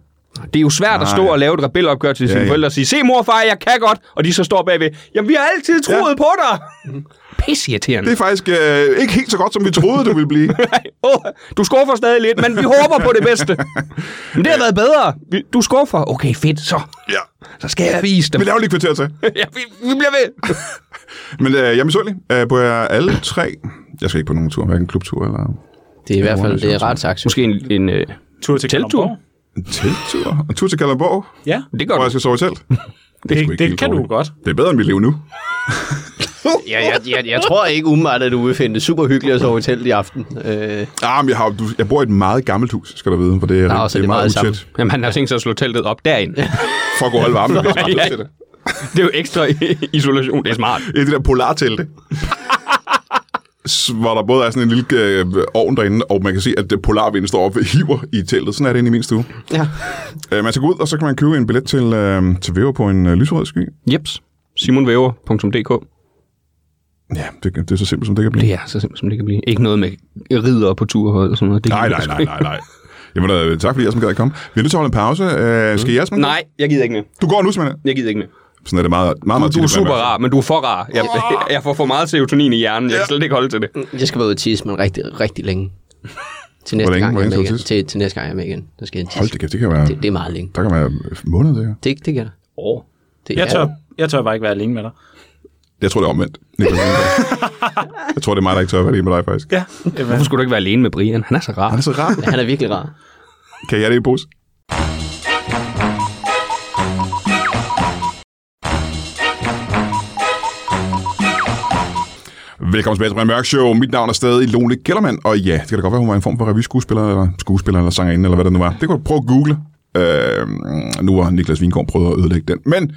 C: Det er jo svært Nej. at stå
A: Nej.
C: og lave et rebelopgør til sine
A: ja.
C: ja. forældre og sige, se mor og far, jeg kan godt, og de så står bagved, jamen vi har altid troet ja. på dig. Pissirriterende.
A: Det er faktisk øh, ikke helt så godt, som vi troede, du ville blive.
C: Åh, oh, du skuffer stadig lidt, men vi håber på det bedste. Men det har været bedre. Vi- Du skuffer. Okay, fedt, så.
A: ja.
C: Så skal jeg vise dem.
A: Vi laver lige et kvarter til.
C: ja, vi, vi bliver ved.
A: Men øh, jeg er misundelig øh, på jer alle tre. Jeg skal ikke på nogen tur, hverken klubtur eller
D: Det er i hvert fald
A: ordentligt,
D: det er
A: synes jeg.
D: ret sagt.
C: Måske en... en øh,
B: Tur til
C: Telttur?
B: Kalundborg.
A: en telttur. En tur til Kalundborg,
B: Ja,
C: det
A: hvor
C: gør
A: jeg
C: du.
A: skal sove i telt.
B: det,
A: sgu
B: det,
A: ikke
B: det
A: helt
B: kan du
A: dårligt.
B: godt.
A: Det er bedre end mit liv nu.
D: Ja, jeg, jeg, jeg tror ikke umiddelbart, at du vil finde det super hyggeligt at sove i telt i aften. Øh,
A: Ah, men jeg, har, du, jeg bor i et meget gammelt hus, skal du vide, for det er,
D: Nå, så
A: det
D: det
A: er
D: er
A: meget
D: meget
A: utæt.
C: Jamen, han har tænkt sig at slå teltet op derinde.
A: For at kunne holde varmen, hvis man har
C: Ja.
A: lyst til det.
C: Det er jo ekstra i- isolation. Det er smart.
A: Et af de der polartelte. S- hvor der både er sådan en lille øh, ovn derinde, og man kan se, at øh, polarvinden står oppe og hiver i teltet. Sådan er det inde i min stue.
D: ja.
A: Øh, man skal gå ud, og så kan man købe en billet til, øh, til Væver på en øh, lyserød sky.
C: Jeps. Simonvæver.dk
A: Ja, det, det er så simpelt, som det kan blive.
C: Det er så simpelt, som det kan blive. Ikke noget med ridder på tur eller sådan noget. Det
A: Nej, nej, nej, nej, nej. Jamen, da, tak fordi jeg som gad at komme. Vi er nødt til at holde en pause. Øh, skal I jeres med?
C: Mm. Nej, jeg gider ikke mere.
A: Du går nu, Svend.
C: Jeg gider ikke mere.
A: Sådan er det meget, meget, meget tit,
C: Du er
A: at man-
C: super rar, men du er for rar. Jeg, jeg får for meget serotonin i hjernen. Jeg kan slet ikke holde til det.
D: Jeg skal være ude og tisse, men rigtig, rigtig længe. Til næste,
A: Hvor længe-
D: gang,
A: hvor
D: jeg
A: længe
D: er
A: skal
D: med
A: du
D: igen.
A: tisse?
D: Til, til næste gang, jeg er med igen. Så skal jeg
A: Hold
D: tisse.
A: det kæft, det kan være,
D: Det, det er meget længe.
A: der kan være øh, måneder, det her.
D: Det, det kan der.
C: Åh.
D: Det
B: Jeg
D: er
B: tør,
D: der.
B: jeg tør bare ikke være alene med dig.
A: Jeg tror, det er omvendt. Niklas Lindberg. jeg tror, det er mig, der ikke tør at være lige med dig, faktisk.
B: Ja, jamen,
C: Hvorfor skulle du ikke være alene med Brian? Han er så rar.
A: Han er så rar.
D: Han er virkelig rar.
A: Kan jeg det i pose? Velkommen tilbage til Brian Mørk Show. Mit navn er stadig Lone Kellermann, og ja, det kan da godt være, hun var en form for revyskuespiller, eller skuespiller, eller sangerinde, eller hvad det nu var. Det kunne du prøve at google. Øh, nu har Niklas Vingård prøvet at ødelægge den. Men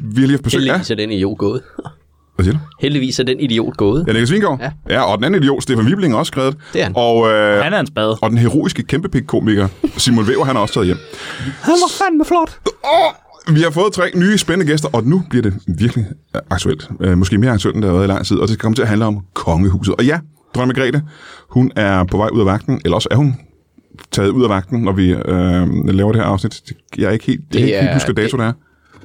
A: vi har lige haft besøg af...
D: Heldigvis er den idiot gået.
A: Hvad siger du?
D: Heldigvis er den idiot gået.
A: Ja, Niklas Vingård. Ja.
D: Ja.
A: ja. og den anden idiot, Stefan Wibling, har også skrevet.
D: Det er han.
A: Og, øh,
B: han er en spade.
A: og den heroiske kæmpepik-komiker Simon Væver, han er også taget hjem.
C: Han var fandme flot.
A: Åh, Vi har fået tre nye spændende gæster, og nu bliver det virkelig øh, aktuelt. Øh, Måske mere aktuelt, end det har været i lang tid, og det skal komme til at handle om kongehuset. Og ja, dronning Margrethe, hun er på vej ud af vagten, eller også er hun taget ud af vagten, når vi øh, laver det her afsnit. Det- Jeg er ikke helt, det er
D: Det
A: ikke helt
D: er-
A: huske dato, det er.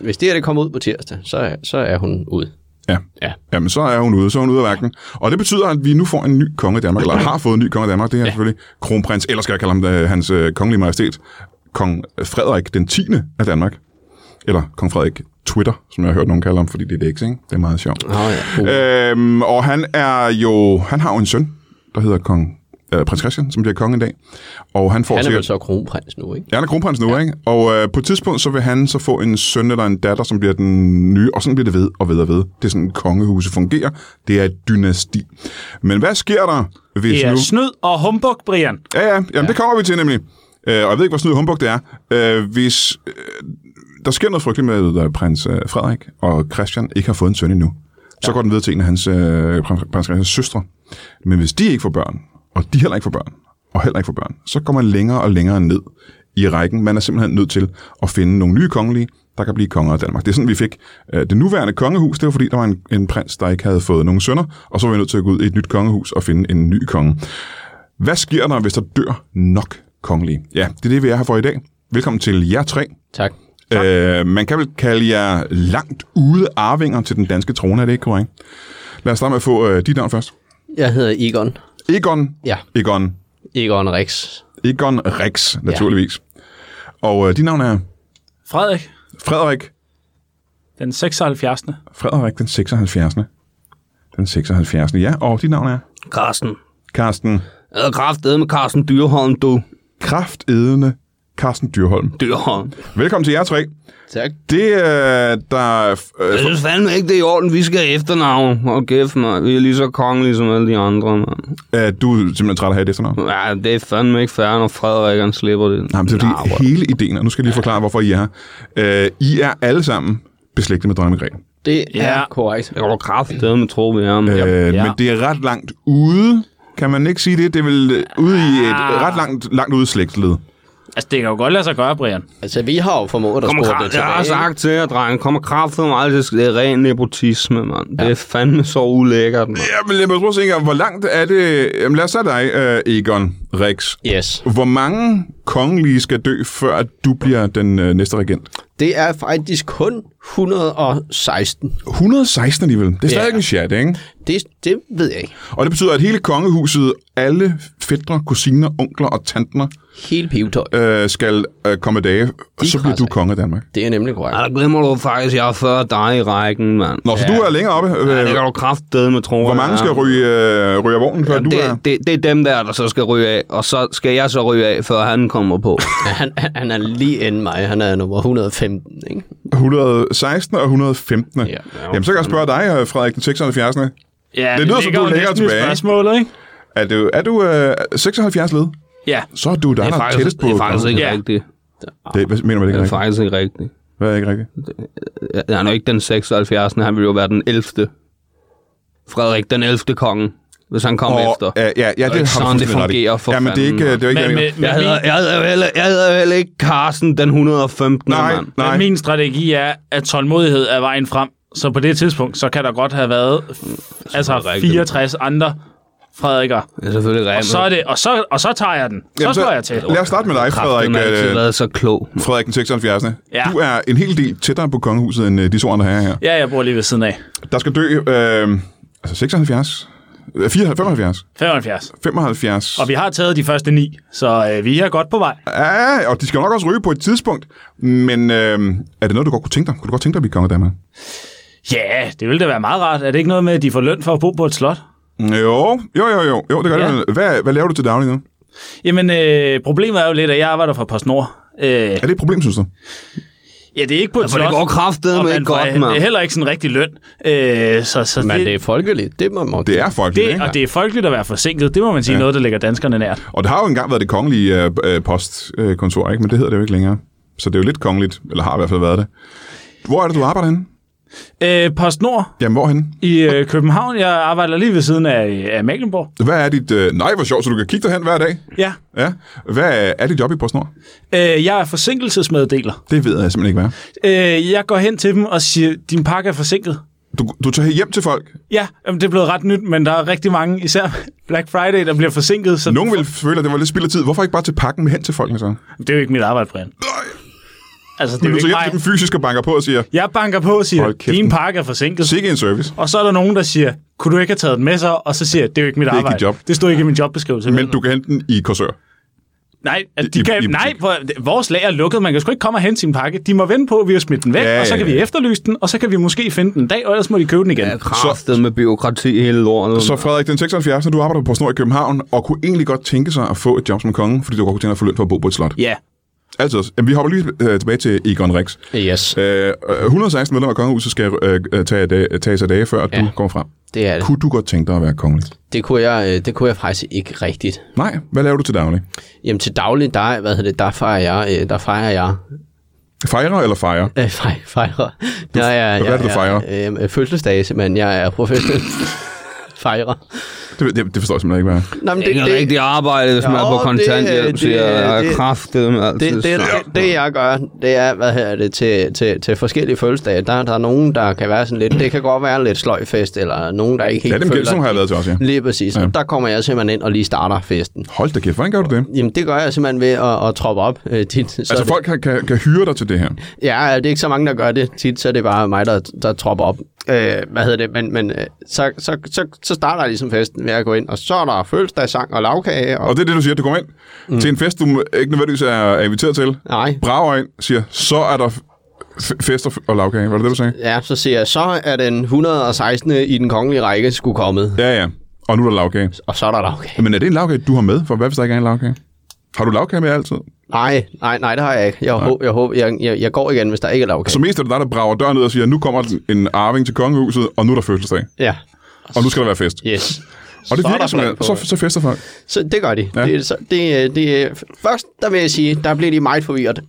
D: Hvis det her det kommer ud på tirsdag, så, er- så er hun ude.
A: Ja.
C: Ja.
A: Jamen, så er hun ude. Så er hun ude af værken. Og det betyder, at vi nu får en ny konge i Danmark, eller har fået en ny konge i Danmark. Det er ja. selvfølgelig kronprins, eller skal jeg kalde ham øh, hans øh, kongelige majestæt, kong Frederik den 10. af Danmark. Eller kong Frederik Twitter, som jeg har hørt nogen kalde ham, fordi det er det ikke, ikke? Det er meget sjovt.
D: Nå, ja. Uh.
A: Øhm, og han er jo, han har jo en søn, der hedder kong, øh, prins Christian, som bliver konge en dag. Og han får
D: Han er
A: sikkert-
D: vel så kronprins nu, ikke?
A: Ja, han er kronprins nu, ja. ikke? Og øh, på et tidspunkt, så vil han så få en søn eller en datter, som bliver den nye, og sådan bliver det ved og ved og ved. Det er sådan, kongehuset fungerer. Det er et dynasti. Men hvad sker der, hvis
B: Det er
A: nu...
B: snyd og humbug, Brian.
A: Ja, ja, jamen ja. det kommer vi til nemlig. Øh, og jeg ved ikke, hvor snyd og humbug det er. Øh, hvis øh, der sker noget frygteligt med, at prins øh, Frederik og Christian ikke har fået en søn endnu, så går den videre til en af hans, øh, prins prins Christians søstre. Men hvis de ikke får børn, og de heller ikke får børn, og heller ikke får børn, så går man længere og længere ned i rækken. Man er simpelthen nødt til at finde nogle nye kongelige, der kan blive konger af Danmark. Det er sådan, vi fik øh, det nuværende kongehus. Det var fordi, der var en, en prins, der ikke havde fået nogen sønner, og så var vi nødt til at gå ud i et nyt kongehus og finde en ny konge. Hvad sker der, hvis der dør nok kongelige? Ja, det er det, vi er her for i dag. Velkommen til jer tre.
D: Tak.
A: Øh, man kan vel kalde jer langt ude arvinger til den danske trone, er det ikke korrekt? Lad os starte med at få øh, dit navn først.
D: Jeg hedder Egon.
A: Egon,
D: Ja,
A: Egon,
D: Egon Rex.
A: Egon Rex, naturligvis. Ja. Og øh, dit navn er
B: Frederik,
A: Frederik,
B: den 76.
A: Frederik den 76. Den 76. Ja, og dit navn er
C: Carsten.
A: Karsten
C: Jeg havde kraftedet med Carsten Dyrholm, du.
A: Kraftedende Karsten Dyrholm.
C: Dyrholm.
A: Velkommen til jer tre.
D: Tak.
A: Det, øh, der øh,
C: Jeg synes fandme ikke, det er i orden. Vi skal have efternavn. Og kæft, man. Vi er lige så kongelige som alle de andre, mand.
A: er du simpelthen træt af at have det efternavn?
C: Ja, det er fandme ikke fair, når Frederik han slipper det.
A: Nej, men det er fordi hele ideen, og nu skal jeg lige forklare, hvorfor I er her. Øh, I er alle sammen beslægtet med dronning Margrethe.
D: Det
B: Ja.
D: er korrekt.
C: Jeg var kraftedet med tro, vi er. mand.
A: Øh,
B: Ja.
A: Men det er ret langt ude, kan man ikke sige det? Det er vel øh, ude i et ret langt, langt ude slægtsled.
B: Altså, det kan jo godt lade sig gøre, Brian.
D: Altså, vi har jo formået at
C: Kommer
D: spore det
C: kraft, jeg
D: tilbage.
C: har
D: ikke?
C: sagt til jer, dreng. Kommer kraftedet med alt. Det er ren nepotisme, mand. Det er fandme så ulækkert, mand.
A: Jamen, lad mig prøve at tænke, hvor langt er det... Jamen, lad os tage dig, øh, Egon Rex.
D: Yes.
A: Hvor mange kongelige skal dø, før at du bliver den øh, næste regent?
D: Det er faktisk kun 116.
A: 116 alligevel. Det er stadig
D: Ja.
A: en chat, ikke?
D: Det, det ved jeg ikke.
A: Og det betyder, at hele kongehuset, alle fædre, kusiner, onkler og tanter,
D: Hele pivetøj.
A: øh, skal øh, komme dage, og så bliver du konge af Danmark.
D: Det er nemlig korrekt.
C: Ja, der glemmer du faktisk, jeg er før dig i rækken, mand.
A: Nå, så ja. du er længere oppe. Øh,
C: Ja, det kan du kraftedeme med tro.
A: Hvor mange skal ryge, øh, ryge af vognen, før du er...
C: det, det, det er dem der, der så skal ryge af, og så skal jeg så ryge af, før han kommer på.
D: Han, han- han er lige inden mig. Han er nummer 115, ikke?
A: 116 og 115. Ja,
D: ja.
A: Jamen, så kan jeg spørge dig, øh, Frederik, den 76.
B: Ja,
A: lyder, som
B: ligger
A: du
B: jo
A: ligger
B: næsten i
A: tilbage.
B: spørgsmålet, ikke?
A: Er du, er du øh, 76 led?
B: Ja.
A: Så er du der, der
C: Det er
A: er
C: faktisk,
A: tættest på...
C: det er faktisk ikke
B: Ja.
C: rigtigt.
A: Det, hvad mener man det
C: Det
A: ikke
C: er
A: rigtigt?
C: faktisk ikke rigtigt.
A: Hvad er ikke rigtigt?
C: Ja, Han er jo ikke den 76. Han ville jo være den 11. Frederik den 11. konge, hvis han kom
A: Og,
C: efter.
A: øh, ja, ja, ja, det,
C: ikke
A: har
C: sådan,
A: du
C: det
A: fuldstændig ret i.
C: fungerer for
A: Jamen, det er ikke, øh, det er ikke,
B: Men,
A: jeg
B: men,
A: mener.
B: men,
C: Jeg hedder,
B: min,
C: jeg, hedder, jo heller, jeg hedder jo heller ikke Carsten den 115.
A: Nej,
C: mand.
B: men
A: nej.
B: min strategi er, at tålmodighed er vejen frem. Så på det tidspunkt, så kan der godt have været f- altså
C: rigtigt.
B: 64 andre Frederikker.
C: Det er selvfølgelig
B: Og
C: rigtigt.
B: så, er det, og, så, og så tager jeg den. Så
A: Jamen,
B: Jamen, slår jeg til.
A: Lad os starte med dig, Frederik.
C: Frederik... altid
A: øh,
C: været så klog.
A: Frederik den 76.
B: Ja.
A: Du er en hel del tættere på kongehuset, end øh, de to andre herrer her.
B: Ja, jeg bor lige ved siden af.
A: Der skal dø... Øh, altså 76... øh, 74, 75,
B: 75.
A: 75.
B: Og vi har taget de første ni, så øh, vi er godt på vej.
A: Ja, og de skal jo nok også ryge på et tidspunkt. Men øh, er det noget, du godt kunne tænke dig? Kunne du godt tænke dig at blive konge af Danmark?
B: Ja, det ville da være meget rart. Er det ikke noget med, at de får løn for at bo på et slot?
A: Jo, jo, jo, jo. jo det gør
B: Ja.
A: ja. det. Hvad, hvad laver du til daglig nu?
B: Jamen, øh, problemet er jo lidt, at jeg arbejder for PostNord. Øh,
A: Er det et problem, synes du?
B: ja, det er ikke på et
C: For
B: slot.
C: det går
B: og
C: kraftedeme
B: man
C: ikke
B: får,
C: godt,
B: øh,
C: mand.
B: heller ikke sådan rigtig løn. Øh, så, så
D: Men det er folkeligt. Det må man
A: Det er folk, det,
B: det,
A: ikke?
B: og det er folkeligt at være forsinket. Det må man sige ja. noget, der ligger danskerne nært.
A: Og det har jo engang været det kongelige øh, øh, postkontor, ikke? Men det hedder det jo ikke længere. Så det er jo lidt kongeligt, eller har i hvert fald været det. Hvor er det, du arbejder henne?
B: Øh, PostNord
A: Jamen, hvorhenne?
B: i øh, København. Jeg arbejder lige ved siden af, af Mecklenburg.
A: Hvad er dit... Øh, nej, hvor sjovt, så du kan kigge derhen hver dag.
B: Ja.
A: Ja. Hvad er dit job i PostNord?
B: Øh, jeg er forsinkelsesmeddeler.
A: Det ved jeg simpelthen ikke, hvad er.
B: Øh, jeg går hen til dem og siger, din pakke er forsinket.
A: Du, du tager hjem til folk.
B: Ja, jamen, det er blevet ret nyt, men der er rigtig mange, især Black Friday, der bliver forsinket. Så
A: Nogen vil føle, at det var lidt spild af tid. Hvorfor ikke bare til pakken med hen til folkene så?
B: Det er jo ikke mit arbejde, Brian. Altså, det er
A: Men
B: jo
A: du tager hjem
B: ikke
A: til
B: mig.
A: den fysisk og banker på og siger,
B: Jeg banker på og siger,
A: Hold kæft.
B: din pakke er forsinket.
A: sikke en service.
B: Og så er der nogen, der siger, kunne du ikke have taget den med sig? Og så siger jeg, det er jo ikke mit
A: er ikke
B: arbejde.
A: dit job.
B: Det stod ikke i min jobbeskrivelse.
A: Men du kan hente den i Korsør.
B: Nej, at de
A: i-
B: kan,
A: i butik.
B: nej for, vores lager er lukket. Man kan sgu ikke komme og hente sin pakke. De må vende på, at vi har smidt den væk,
A: Ja,
B: ja, og så
A: ja,
B: kan
A: ja.
B: vi efterlyse den, og så kan vi måske finde den en dag, og ellers må de købe den igen. Ja,
C: Kraftet med byråkrati hele lortet.
A: Så Frederik, den 76, du arbejder på PostNord i København, og kunne egentlig godt tænke sig at få et job som konge, fordi du godt kunne tænke dig at få løn for at bo på et slot.
B: ja.
A: Altid. også. Jamen, vi hopper lige øh, tilbage til Egon Rex.
D: Yes,
A: Øh, 116 medlemmer af kongehuset skal øh, øh, tage, dag, tage sig dage, før ja. du kommer frem.
D: det er det.
A: Kunne du godt tænke dig at være kongelig?
D: Det kunne jeg, øh, det kunne jeg faktisk ikke rigtigt.
A: Nej. Hvad laver du til daglig?
D: Jamen til daglig, der, hvad hedder det, der fejrer jeg, øh, der fejrer jeg,
A: Fejre eller fejre?
D: øh, fej, fejrer. Jeg er,
A: hvad er det, du
D: Jeg, øh, øh, fødselsdage, simpelthen. Jeg er professionel fejrer.
A: Det, det, det forstår jeg simpelthen ikke, hvad er.
D: Nå, men
C: Det er ikke det, rigtigt arbejde, hvis man
D: Jo,
C: er på
D: det-
C: kontanthjælp,
D: det-
C: siger jeg.
D: det-
C: Kraftet med altid.
D: Det, det, det, det jeg gør, det er, hvad hedder det, til, til, til forskellige fødselsdage, der, der er nogen, der kan være sådan lidt, det kan godt være lidt sløjfest, eller nogen, der ikke helt
A: Ja, dem gæld,
D: føler...
A: som har jeg lavet til os, ja.
D: Lige præcis. Ja. Der kommer jeg simpelthen ind og lige starter festen.
A: Hold da kæft, hvordan gør du det?
D: Jamen, det gør jeg simpelthen ved at, at troppe op øh, tit. Så
A: Altså,
D: det,
A: folk kan, kan, kan hyre dig til det her.
D: Ja, det er ikke så mange, der gør det tit, så er det bare mig, der, der tropper op. Øh, hvad hedder det? Men, men øh, så, så, så, så starter jeg ligesom festen med at gå ind, og så er der fødselsdagssang og lavkage. Og,
A: Og det er det, du siger, du kommer ind mm. til en fest, du ikke nødvendigvis er er inviteret til.
D: nej,
A: Brager ind, siger, så er der f- fest og, f- og lavkage. Var det det, du sagde?
D: ja, så siger jeg, så er den 116. i den kongelige række skulle komme.
A: Ja, ja. Og nu er der lavkage.
D: Og så er der lavkage.
A: Men er det en lavkage, du har med? For hvad hvis der ikke er en lavkage? Har du lavkage med altid?
D: Nej, nej, nej, det har jeg ikke. Jeg, håber, jeg, håber, jeg, jeg, jeg går igen, hvis der ikke er lavkage.
A: Så mest er det dig, der brager døren ud og siger, nu kommer den- en arving til kongehuset, og nu er der fødselsdag.
D: Ja,
A: Og nu skal der være fest.
D: yes.
A: Og det
D: Så er
A: virker
D: der
A: simpelthen.
D: flag på.
A: Så, så fester folk.
D: Så det gør de.
A: Ja.
D: Ja. Det, er så, det, øh, det, er- først, der vil jeg sige, der bliver de meget forvirret.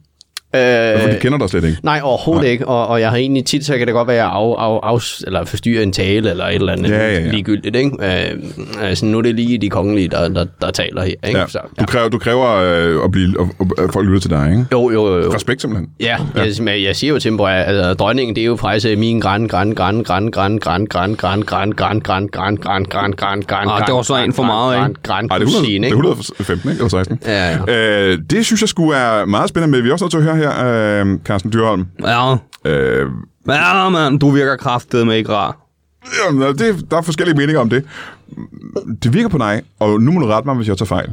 D: Øh,
A: For de kender dig slet ikke.
D: Nej, overhovedet Nej. ikke, og, og jeg har egentlig tit, så kan det godt være, at jeg af, af, af, eller forstyrrer en tale eller et eller andet
A: Ja, ja, ja.
D: ligegyldigt. Ikke? Øh, altså, nu er det lige de kongelige, der, der, der taler her. Ikke?
A: Ja.
D: Så,
A: Du kræver, du kræver øh, at, blive, at, at folk lytter til dig, ikke?
D: Jo, jo, jo.
A: Respekt simpelthen.
D: Ja, jeg, men jeg siger jo til dem, at altså, dronningen, det er jo faktisk øh, min græn, græn, græn, græn, græn, græn, græn, græn, græn, græn, græn, græn, græn, græn, græn, græn,
C: Ah, det var så en for meget, ikke?
D: Græn,
A: Ej,
D: græn,
A: det er, 100,
D: kusine,
A: det er
D: ikke?
A: 115, ikke? Eller 16.
D: Ja, ja.
A: Øh, det synes jeg skulle er meget spændende, men vi er også nødt til at høre her, øh, Carsten Dyrholm.
C: Ja.
A: Øh,
C: Ja, mand, du virker kraftet med ikke rar.
A: jamen, det, der er forskellige meninger om det. Det virker på dig, og nu må du rette mig, hvis jeg tager fejl.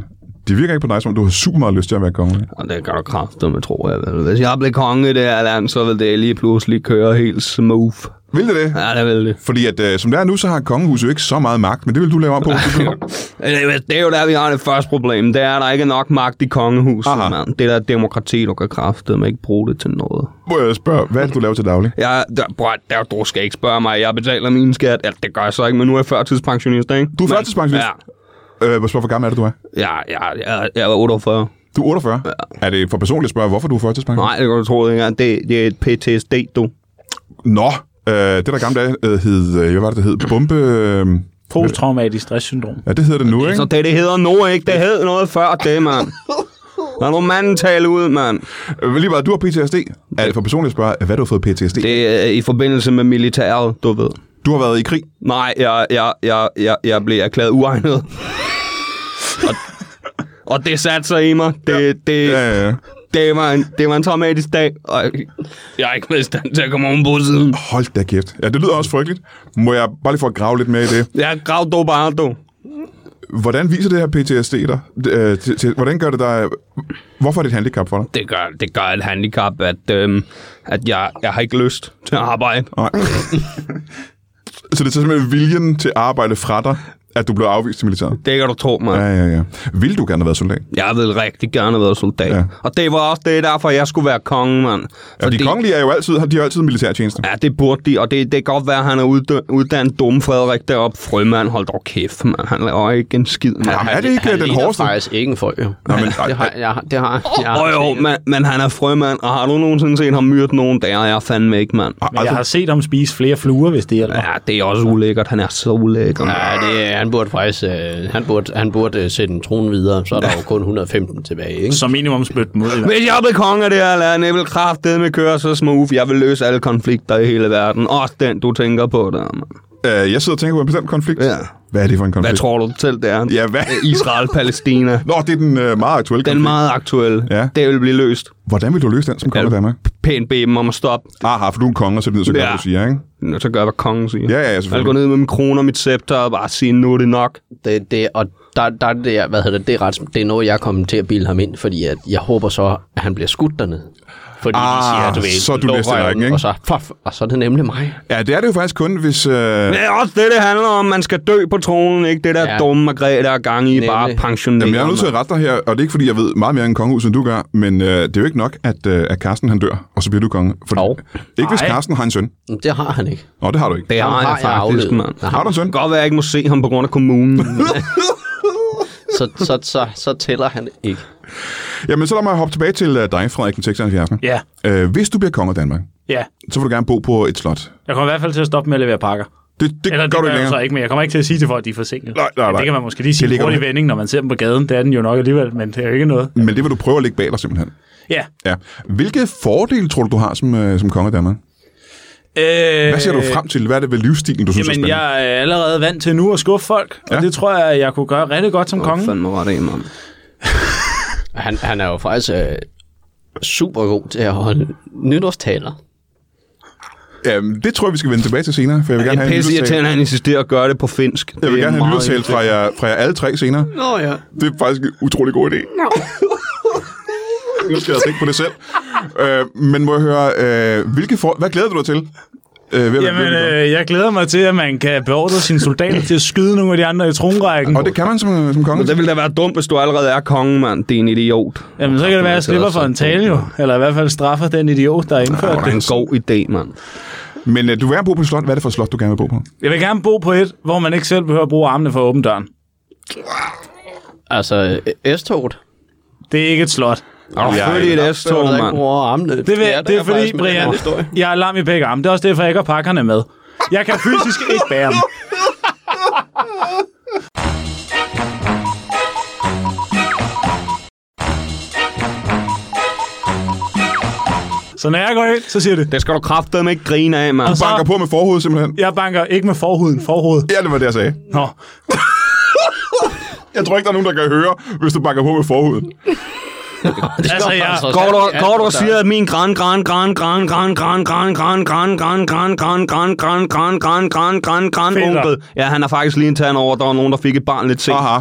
A: Det virker ikke på dig, som om du har super meget lyst til at være konge.
C: Og det gør du kraftet med, tror jeg. Vel. Hvis jeg blev konge i det her land, så vil det lige pludselig køre helt smooth.
A: Vil det det?
C: Ja, det vil det.
A: Fordi at, øh, som det er nu, så har kongehuset jo ikke så meget magt, men det vil du lave om på.
C: Øh, Det er jo der, vi har det første problem. Det er, at der ikke er nok magt i kongehuset,
A: Aha.
C: mand. Det der demokrati, du kan kraftet med ikke bruge det til noget.
A: Må jeg spørge, hvad er det, du laver til daglig?
C: Jeg, der, bror, der, du skal ikke spørge mig. Jeg betaler min skat. Ja, det gør jeg så ikke, men nu er jeg førtidspensionist, ikke?
A: Du er
C: Men-
A: førtidspensionist?
C: Ja,
A: Øh, hvor spørger, hvor gammel er det, du er?
C: Ja, ja, jeg, jeg er 48.
A: Du er 48. Ja. Er det for personligt at spørge, hvorfor du er førtidspensionist?
C: Nej, det kan du tro, det ikke er. Det, det er et PTSD, du.
A: Nå, øh, det der gamle dage øh, hed, øh, hvad var det, det hed? Bombe... Øh,
B: Posttraumatisk stresssyndrom.
A: ja, det hedder det nu,
C: Så
A: ikke?
C: det, det hedder nu ikke. Det hed noget før det, mand. Lad nu manden tale ud, mand.
A: Øh, lige bare, du har PTSD. Er det Altså, for personligt at spørge, hvad du har fået PTSD? Det.
C: Det er i forbindelse med militæret, du ved.
A: Du har været i krig.
C: Nej, jeg, jeg, jeg, jeg, jeg blev erklæret uegnet. og, og det satte sig i mig. Det, ja. det,
A: Ja, ja, ja.
C: det, var en, det var en traumatisk dag, og jeg- jeg er ikke været i stand til at komme oven på siden.
A: Hold da kæft. Ja, det lyder også frygteligt. Må jeg bare lige få at grave lidt mere i det?
C: Jeg er grav dog bare, du.
A: Hvordan viser det her PTSD dig? D- øh, til- til- Hvordan gør det dig... Hvorfor er det et handicap for dig?
C: Det gør, det gør et handicap, at, øhm, at jeg, jeg har ikke lyst til at arbejde.
A: Nej. så det er simpelthen viljen til at arbejde fra dig, at du blev afvist til militæret?
C: Det kan du tro, mig.
A: Ja, ja, ja. Vil du gerne have været soldat?
C: Jeg ville rigtig gerne have været soldat.
A: Ja.
C: Ja. Og det var også det, derfor jeg skulle være konge, mand.
A: Fordi... De kongelige er jo altid, de har altid militærtjeneste.
C: Ja, det burde de, og det, det kan godt være, at han er uddø- uddannet dumme Frederik deroppe. Frømand, hold dog kæft, mand. Han laver ikke en skid, mand.
A: Jamen, er det ikke
D: Han
A: øh, den
D: ligner
A: hårdeste?
D: faktisk ikke en frø, jo.
A: Nå, men,
D: Det har jeg, har- det har jeg.
C: Åh jo, men, men han er frømand, og har du nogensinde set ham myrde nogen der? Jeg er fandme ikke, mand.
B: Men jeg har set ham spise flere fluer, hvis det hjælper.
C: Ja, det er også ulækkert. Han er så ulækker.
D: Ja, det, er- han burde faktisk øh, han burde, han burde øh, sætte en trone videre, så er der jo kun 115 tilbage, ikke?
B: Som minimum spytte dem ud. i hvert fald.
C: Hvis jeg blev konge af det her land, jeg vil kraftedeme køre så smooth. Jeg vil løse alle konflikter i hele verden. Også den, du tænker på der, mand.
A: altså, Øh, jeg sidder og tænker på en bestemt konflikt.
C: Ja.
A: Hvad er det for en konflikt?
C: Hvad tror du selv, det er?
A: Ja, hvad?
C: Israel-Palæstina.
A: Nå, det er den øh, meget aktuelle
C: Den er
A: konflikt.
C: meget aktuel.
A: Ja.
C: Det vil blive løst.
A: Hvordan vil du løse den som konge af
C: Ja.
A: Danmark?
C: Pænt bede dem om at stoppe.
A: Aha, for Ah, du er en konge, og så lyder det så godt,
C: Ja.
A: du siger, ikke?
C: Nå, så gør jeg, hvad kongen siger.
A: Ja, ja, ja,
C: Jeg går
A: selvfølgelig.
C: ned med min kroner og mit scepter og bare sige, nu er det nok.
D: Det, det, og der, der er det, der, hvad hedder det, det er, ret, det er noget, jeg kommer til at bilde ham ind, fordi at jeg håber så, at han bliver skudt dernede. Fordi
A: Ah,
D: de siger, du ved,
A: så er du
D: "Luk
A: næste i
D: røven,"
A: rækken, ikke?
D: Og så, puff, og så er det nemlig mig.
A: Ja, det er det jo faktisk kun, hvis... Øh...
C: Men det er også det, det handler om. Man skal dø på tronen, ikke? Det der ja.
D: Ja.
C: dumme Margrethe, der er gang i
D: Nemlig.
C: bare pensionere.
A: Jamen, jeg er nødt til at rette dig her, og det er ikke, fordi jeg ved meget mere end kongehuset, end du gør, men øh, det er jo ikke nok, at, øh, at Karsten han dør, og så bliver du konge. For
D: Hov.
A: Ikke hvis
B: Ej.
A: Karsten har en søn.
D: Men det har han ikke.
A: Nå, det har du ikke.
C: Det
D: Ham
C: har jeg faktisk, mand.
D: afledt.
C: Det
A: Har du en søn?
C: kan godt være, at jeg ikke må se ham på grund af kommunen.
D: Så, så, så, så, så tæller han ikke.
A: Jamen, så lad mig hoppe tilbage til øh, dig, Frederik den 76.
B: Ja,
A: Øh, hvis du bliver konge af Danmark,
B: ja.
A: så vil du gerne bo på et slot.
B: Jeg kommer i hvert fald til at stoppe med at levere pakker.
A: Det, det
B: Eller det
A: gør
B: gør
A: du ikke
B: jeg altså jo
A: længere.
B: så ikke, men jeg kommer ikke til at sige til folk, at de er
A: Nej,
B: forsinket.
A: nej,
B: Men
A: nej.
B: Det kan man måske lige sige i
A: ligger
B: en hurtig
A: under.
B: vending, når man ser dem på gaden. Det er den jo nok alligevel, men det er jo ikke noget.
A: Men det vil du prøve at lægge bag dig simpelthen.
B: Ja.
A: Ja. Hvilke fordele tror du, du har som, øh, som konge af Danmark?
B: Øh,
A: Hvad ser du frem til? Hvad er det ved livsstilen, du synes er
B: Jamen,
A: spændende?
B: jeg er allerede vant til nu at skuffe folk, ja.
A: Ja.
B: og det tror jeg, jeg kunne gøre rigtig godt som konge.
C: Fandme ret af, mand.
D: Han, han er jo faktisk øh, super god til at holde nytårstaler.
A: Jamen, Øhm, det tror jeg, vi skal vende tilbage til senere, for jeg vil
C: Det
A: gerne
C: er
A: have en
C: pisse
A: lyttertale.
C: irriterende, at han insisterer at gøre det på finsk.
A: Jeg vil
C: Det er
A: gerne have en
C: meget
A: lyttertale fra jer, fra jer alle tre senere.
D: Nå ja.
A: Det er faktisk en utrolig god idé. nu skal jeg tænke på det selv. Øh, men må jeg høre, øh, hvilke for... hvad glæder du dig til? Øh, ved at være
B: Jamen,
A: virkelig
B: øh, jeg glæder mig til, at man kan beordre sine soldater til at skyde nogle af de andre i tronrækken.
A: god? Og det kan man som, som konge.
C: Men det ville da være dumt, hvis du allerede er konge, mand. Det er en idiot. Altså,
B: Jamen, så kan det være, at jeg slipper for en tale jo, eller i hvert fald straffer den idiot, der har indført
C: Det er en god idé, mand.
A: Men øh, du vil gerne bo på et slot. Hvad er det for et slot, du gerne vil bo på?
B: Jeg vil gerne bo på et, hvor man ikke selv behøver at bruge armene for at åbne døren.
D: Altså, øh, S-toget.
B: Det er ikke et slot.
C: Og
A: Ja,
C: født i
A: ja.
C: et S-tog,
D: der ikke
C: mand.
D: bruger armene.
B: Det, vil,
D: Ja,
B: ja,
D: der
B: det er, fordi,
D: faktisk med den her
B: Brian,
D: historie.
B: jeg er lam i begge arme. Det er også derfor, jeg ikke har pakkerne med. Jeg kan fysisk ikke bære dem. Så når jeg går ind, så siger det,
C: Det skal du kraftedeme ikke grine af, mand.
B: så-
A: Banker på med forhovedet simpelthen.
B: jeg banker ikke med forhuden, forhovedet.
A: Ja, det var det, jeg sagde.
B: Nå,
A: Jeg tror ikke, der er nogen, der kan høre, hvis du banker på med forhuden.
B: altså jeg,
C: Går du, går du og siger, at min gran, gran, gran, gran, gran, gran, gran, gran, gran, gran, gran, gran, gran, gran, gran, gran, gran, gran, gran,
B: Fætter.
C: onkel. Ja, han har faktisk lige en tand over, der var nogen, der fik et barn lidt sent.
A: Aha.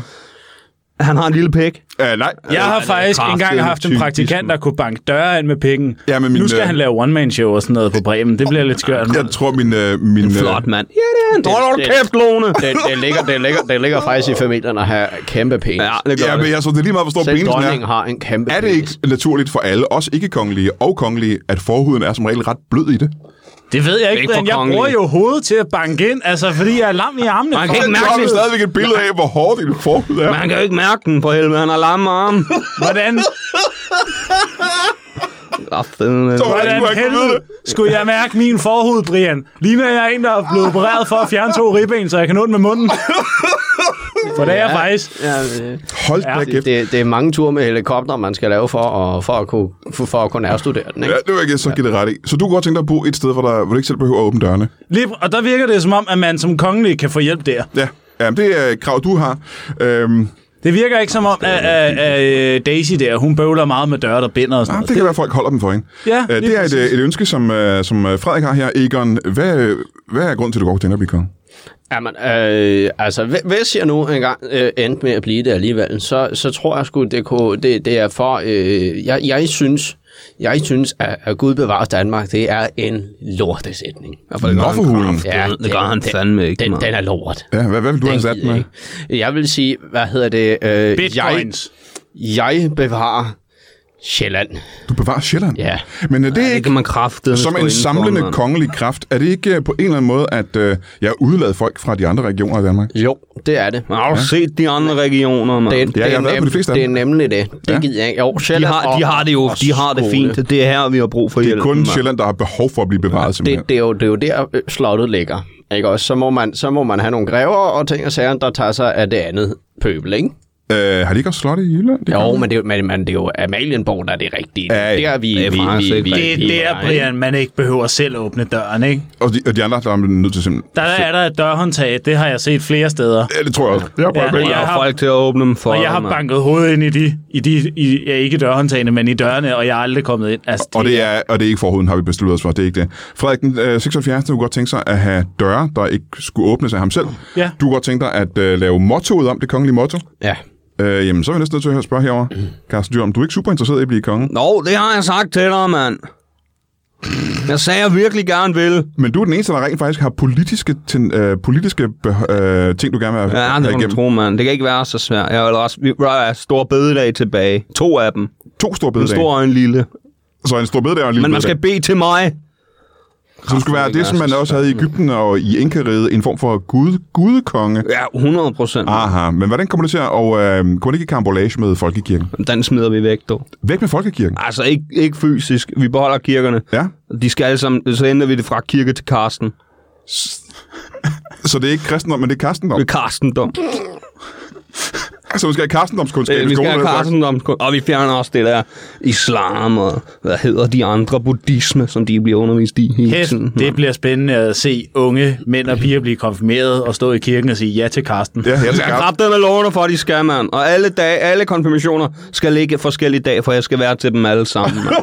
C: Han har en lille pik.
A: Uh, nej.
B: jeg har faktisk
C: kraftedeme
B: engang haft en
C: typisk,
B: praktikant,
C: mand.
B: der kunne banke døre ind med pikken.
A: Ja, men min,
B: nu skal
A: øh,
B: han lave one-man-show og sådan noget på Bremen. Det bliver lidt skørt.
A: Jeg tror, min... Øh, min øh,
C: Flot, mand. Ja, det er han. Hold da
D: det-
C: kæft, Lone.
D: Det, det, ligger, det, ligger, det ligger faktisk i familien at have kæmpe penis.
C: Ja, det
A: Ja,
C: gør
A: men
C: det.
A: jeg tror, det er lige meget, hvor stor
D: Selv
A: penisen er.
D: dronningen har en kæmpe
A: Er det
D: penis.
A: ikke naturligt for alle, også ikke-kongelige og kongelige, at forhuden er som regel ret blød i det?
B: Det ved jeg ikke,
C: Ikke for
B: Brian. Jeg
C: kongelige.
B: bruger jo hovedet til at banke ind, altså fordi jeg er lam i armene.
C: Man kan
B: For-
C: ikke
A: Så
C: mærke
A: har vi
C: det.
A: stadigvæk et billede af, hvor hårdt din forhud er.
C: Man kan jo ikke mærke den, for helvede. Han har lamme arme.
B: Hvordan,
C: Ah,
A: Så- Hvordan
C: fanden.
A: skulle
B: hvordan
A: jeg ikke vide
B: helvede skulle jeg mærke min forhud, Brian? Ligner jeg en, der er blevet opereret for at fjerne to ribben, så jeg kan nå den med munden? For det er jeg faktisk.
D: Ja, det-
A: Hold da kæft.
D: det, det, det er mange ture med helikopter, man skal lave for at, for at kunne, for, for at kunne nærstudere den. Ikke?
A: Ja, det vil jeg ikke så give det ret i. Så du kunne godt tænke dig at bo et sted, hvor, der, hvor du ikke selv behøver at åbne dørene?
B: Lige, og der virker det som om, at man som kongelig kan få hjælp der.
A: Ja, Jamen, det er et krav, du har. Øhm,
B: Det virker ikke som om, at, at, at, at Daisy der, hun bøvler meget med døre, der binder og sådan
A: ah,
B: noget.
A: det kan være, at folk holder dem for hende.
B: Ja,
A: Øh,
B: lige
A: det er et, øh, et ønske, som, øh, som øh, Frederik har her. Egon, hvad, øh, hvad er grunden til, at du går til at blive konge?
D: Jamen, øh, altså, hvi- hvis jeg nu engang øh, endte med at blive det alligevel, så, så tror jeg sgu, det, kunne, det, det er for... Øh, jeg, jeg synes, jeg synes at, at Gud bevarer Danmark, det er en lortesætning.
A: Nå for hulen.
C: Ja, det gør han
D: den-
C: fandme ikke,
D: Den,
C: mand.
D: den er lort.
A: Ja, hvad, hvad vil du have
D: Den
A: sat
D: gider
A: med?
D: jeg ikke. Jeg vil sige, hvad hedder det? Øh,
B: Bitcoins.
D: Jeg, jeg bevarer Sjælland.
A: Du bevarer Sjælland.
D: Ja.
A: Men er det
C: Det
A: ikke
C: kan man kraftedeme
A: som
C: stå
A: en
C: indenfor,
A: samlende
C: mand.
A: kongelig kraft? Er det ikke øh, på en eller anden måde, at øh, jeg udlader folk fra de andre regioner i Danmark?
D: Jo, det er det.
C: Har du set de andre regioner, mand?
D: Det,
A: jeg
D: det,
A: har
D: er
A: været på de
D: nem,
A: fleste af
D: det er
A: dem.
D: nemlig det. Det
A: Ja.
D: gider jeg ikke. Jo,
C: De
D: Sjælland
C: har, de
D: og-
C: har det jo
D: og
C: de har det
D: Skåne.
C: fint. Det er her, vi har brug for
A: Det er
C: hjælp.
A: kun
C: mand.
A: Sjælland, der har behov for at blive bevaret, simpelthen.
D: det, det, er jo, det er jo der, øh, slottet ligger. Ikke også? Så må, man, så må man have nogle grever og ting og sager, der tager sig af det andet pøbel, ikke?
A: Øh, har de ikke også slot i Jylland? Det
D: Jo,
A: kan-
D: men det, er jo- men, men det er jo Amalienborg, der er det rigtige.
A: Ja, ja.
D: Der er vi,
C: Det er faktisk
D: vi, vi,
C: ikke
D: vi,
B: Det er
D: vi,
B: der, Brian, man ikke behøver selv at åbne døren, ikke?
A: Og de, og de andre, der er nødt til simpelthen...
B: Der er der et dørhåndtag, det har jeg set flere steder.
A: Ja, det tror jeg også. Jeg har prøvet
B: Ja,
A: begge
B: jeg
C: Jeg
A: gange.
B: har-
C: har folk til at åbne dem for
B: Og jeg har
C: mig.
B: banket hovedet ind i de, i de i, ja, ikke i dørhåndtagene, men i dørene, og jeg er aldrig kommet ind. Altså,
A: og det, er, og det er ikke forhuden, har vi besluttet os for. Det er ikke det. Frederik, den øh, 76. kunne godt tænke sig at have døre, der ikke skulle åbnes af ham selv.
B: Ja.
A: Du kunne godt tænke dig at øh, lave mottoet om, det kongelige motto.
D: Ja.
A: Øh, jamen, så er vi næsten nødt til at høre spørge herovre.
B: Mm.
A: Carsten Dyr, om du er ikke super interesseret i at blive konge,
C: Nå, det har jeg sagt til dig, mand. Jeg sagde, jeg virkelig gerne vil.
A: men du er den eneste, der rent faktisk har politiske, ten, øh, politiske beh- øh, ting, du gerne vil have,
C: Ja, det kan du tro, mand. Det kan ikke være så svært. Jeg vil også, vi der er store bededag tilbage. To af dem. En
A: To store bededage.
C: stor og en lille.
A: Så en stor bededage og en lille
C: Men man
A: bededag.
C: skal altså. bede til mig.
A: Så det skulle være det, som man også havde i Ægypten og i Inkariget, en form for gud, gudekonge.
C: Ja, 100 procent.
A: Aha, men hvordan kommer det til at, og øh, kunne det ikke i karambolage med folkekirken?
C: Den smider vi væk, dog.
A: Væk med folkekirken.
C: Altså, ikke, ikke fysisk. Vi beholder kirkerne.
A: Ja,
C: De skal alle sammen, så ændrer vi det fra kirke til karsten.
A: så det er ikke kristendom, men det er karstendom.
C: Det er karstendom.
A: Så vi skal have karstendomskundskab
C: Øh,
A: i
C: vi skal
A: skolen.
C: have
A: eller hvad?
C: karstendom. Og vi fjerner også det der islam og hvad hedder de andre buddhisme, som de bliver undervist i hele
B: Kæft,
C: tiden.
B: det bliver spændende at se unge mænd og piger blive konfirmeret og stå i kirken og sige ja til Karsten.
A: Ja, jeg
C: Jeg
A: skal
C: skal
A: have
C: kraftedeme love dig for, at de skal, mand. Og alle, dage, alle konfirmationer skal ligge forskellige dage, for jeg skal være til dem alle sammen, mand.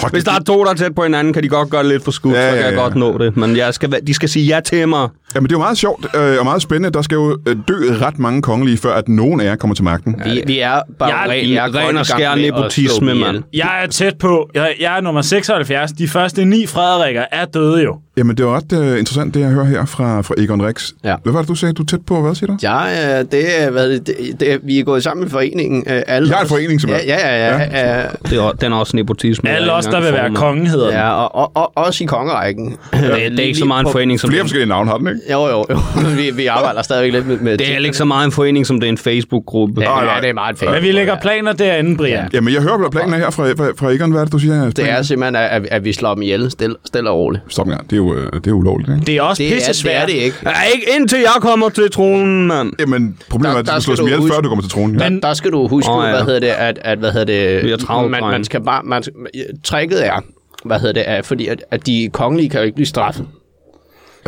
A: Hold
C: Hvis der er to, der er tæt på hinanden, kan de godt gøre det lidt for skudt,
A: Ja,
C: ja, så
A: ja,
C: kan ja, jeg
A: ja.
C: godt nå det. Men jeg skal, væ- de skal sige ja til mig.
A: Jamen, det er jo meget sjovt øh, og meget spændende. Der skal jo øh, dø ret mange kongelige, før at nogen af jer kommer til magten. Ja.
D: Vi, vi er bare
B: Jeg-
D: ren, jeg er
C: ren
D: godt
C: og
D: i gang
C: skær
D: med at slå
C: nepotisme,
D: dem ihjel.
C: mand.
B: Jeg er tæt på. Jeg, jeg er nummer 76. De første ni Frederikker er døde jo.
A: Jamen, det er jo ret øh, interessant, det jeg hører her fra, fra Egon Rex.
D: Ja.
A: Hvad var det, du sagde? Du er tæt på, hvad siger du?
D: Ja, øh, det, er- hvad, er det, det, det, vi er gået sammen i foreningen. øh, Alle
A: Jeg er en
D: os.
A: forening, simpelthen.
D: Ja, ja, ja. ja, ja.
C: Det er, o- den er også nepotisme.
B: Alle
C: jeg
B: os,
C: ikke
B: der vil være
C: engang får, mand.
B: konge, hedder den.
D: Ja, og, og, og også i kongerækken.
C: Det, det er ikke så meget en forening, som...
A: Flere forskellige navne har den, ikke?
D: Jo, jo, jo. vi, vi arbejder stadigvæk lidt med... med
C: Det er heller ikke så meget en forening, som det er en Facebook-gruppe.
D: Ja,
A: Nej,
D: ja,
A: nej.
D: det er meget fedt.
B: Men vi lægger planer derinde, Brian.
A: Jamen, jeg hører, hvad planen er her fra, fra, fra Egon. Hvad er det, du siger?
D: Det er simpelthen, at, at vi slår dem ihjel stille, stille og roligt.
A: Stop en gang. Det er jo, øh, det er jo ulovligt, ikke?
B: Det er også
D: Det er, det er
B: pissesvært.
D: det ikke.
C: Ja, ikke indtil jeg kommer til tronen, mand.
A: Jamen, problemet
D: Der-
A: er, at
D: der
A: du skal
D: skal
A: slås
D: du
A: ihjel,
D: huske-
A: før du kommer til tronen. Ja.
D: Men, der, der skal du huske,
C: Åh,
D: oh,
C: ja.
D: ja. hvad hedder det, at, at hvad hedder det,
C: Vi er travlt,
D: man,
C: drenge.
D: man skal bare, man, skal- tricket er, hvad hedder det, er, fordi at, at de kongelige kan jo ikke blive straffet.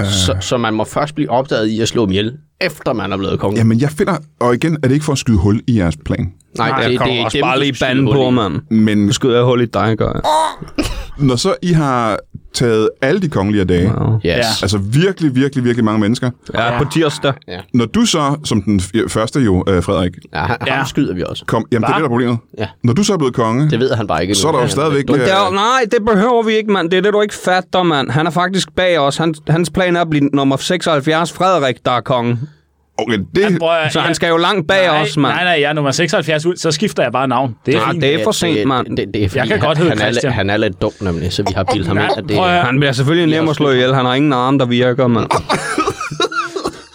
D: Øh. Så, så, man må først blive opdaget i at slå dem ihjel, efter man er blevet konge.
A: Jamen, jeg finder, og igen, er det ikke for at skyde hul i jeres plan.
D: Nej,
C: Jeg kommer også bare
D: du
C: lige
D: skyder
C: banden
D: hul i.
C: på, mand.
A: Men
C: Nu skyder jeg hul i dig, gør jeg.
A: når så I har taget alle de kongelige dage, wow.
D: Yes.
A: altså virkelig, virkelig, virkelig mange mennesker,
C: Ja, på tirsdag.
A: Når du så, som den f- første jo, øh, Frederik,
D: Ja, ham
B: Ja.
D: ja. skyder vi også.
A: kom, jamen Hva? det er det, der er problemet.
D: Ja.
A: Når du så er blevet konge,
D: Det ved han bare ikke.
A: så er der jo stadigvæk... øh,
C: Men der, er- nej, det behøver vi ikke, mand. Det er det, du ikke fatter, mand. Han er faktisk bag os. Han, hans plan er at blive nummer 76 Frederik, der er konge.
A: Okay, det,
B: Ja, prøv at-
C: Så han
B: jeg-
C: skal jo langt bag
B: nej,
C: os, mand.
B: Nej, nej, jeg er nummer 76 ud, så skifter jeg bare navn. Det er
C: Nej,
B: fint.
C: det er for sent, mand.
D: Det, det, det er, fordi
B: kan
D: han,
B: godt hedde
D: han, er,
B: Christian.
D: lidt- han er lidt dum nemlig, så vi har bildt ham ind, at det
B: Prøv at-
D: han,
C: Han bliver selvfølgelig nem at slå ihjel. Han har ingen arme, der virker, mand.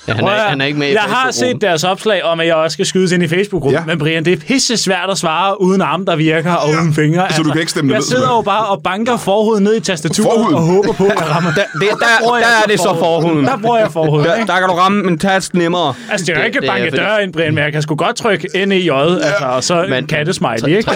D: han,
B: Prøv at
D: er,
B: høre,
D: han er ikke med i
B: Jeg har
D: Facebook-gruppen.
B: set deres opslag om, at jeg også skal skydes ind i Facebook-gruppen,
A: Ja.
B: ja. men Brian, det er pisse svært at svare uden arme, der virker, og uden fingre. Altså,
A: Så du kan ikke stemme det
B: Jeg
A: ned,
B: sidder
A: simpelthen?
B: jo bare og banker forhovedet ned i tastaturet
A: Forhuden?
B: og håber på, at jeg rammer.
C: Der, det, der,
B: bruger jeg
C: der er det så forhuden.
B: Der bruger jeg forhuden.
C: Der,
B: ikke?
C: der kan du ramme en tast nemmere.
B: Altså, det er jo
D: Det-
B: ikke
D: det er
B: banke
D: fordi-
B: døren ind, Brian, men jeg kan sgu godt trykke ind i J'et, altså, og så en
D: Men-
B: kattesmiley, ikke?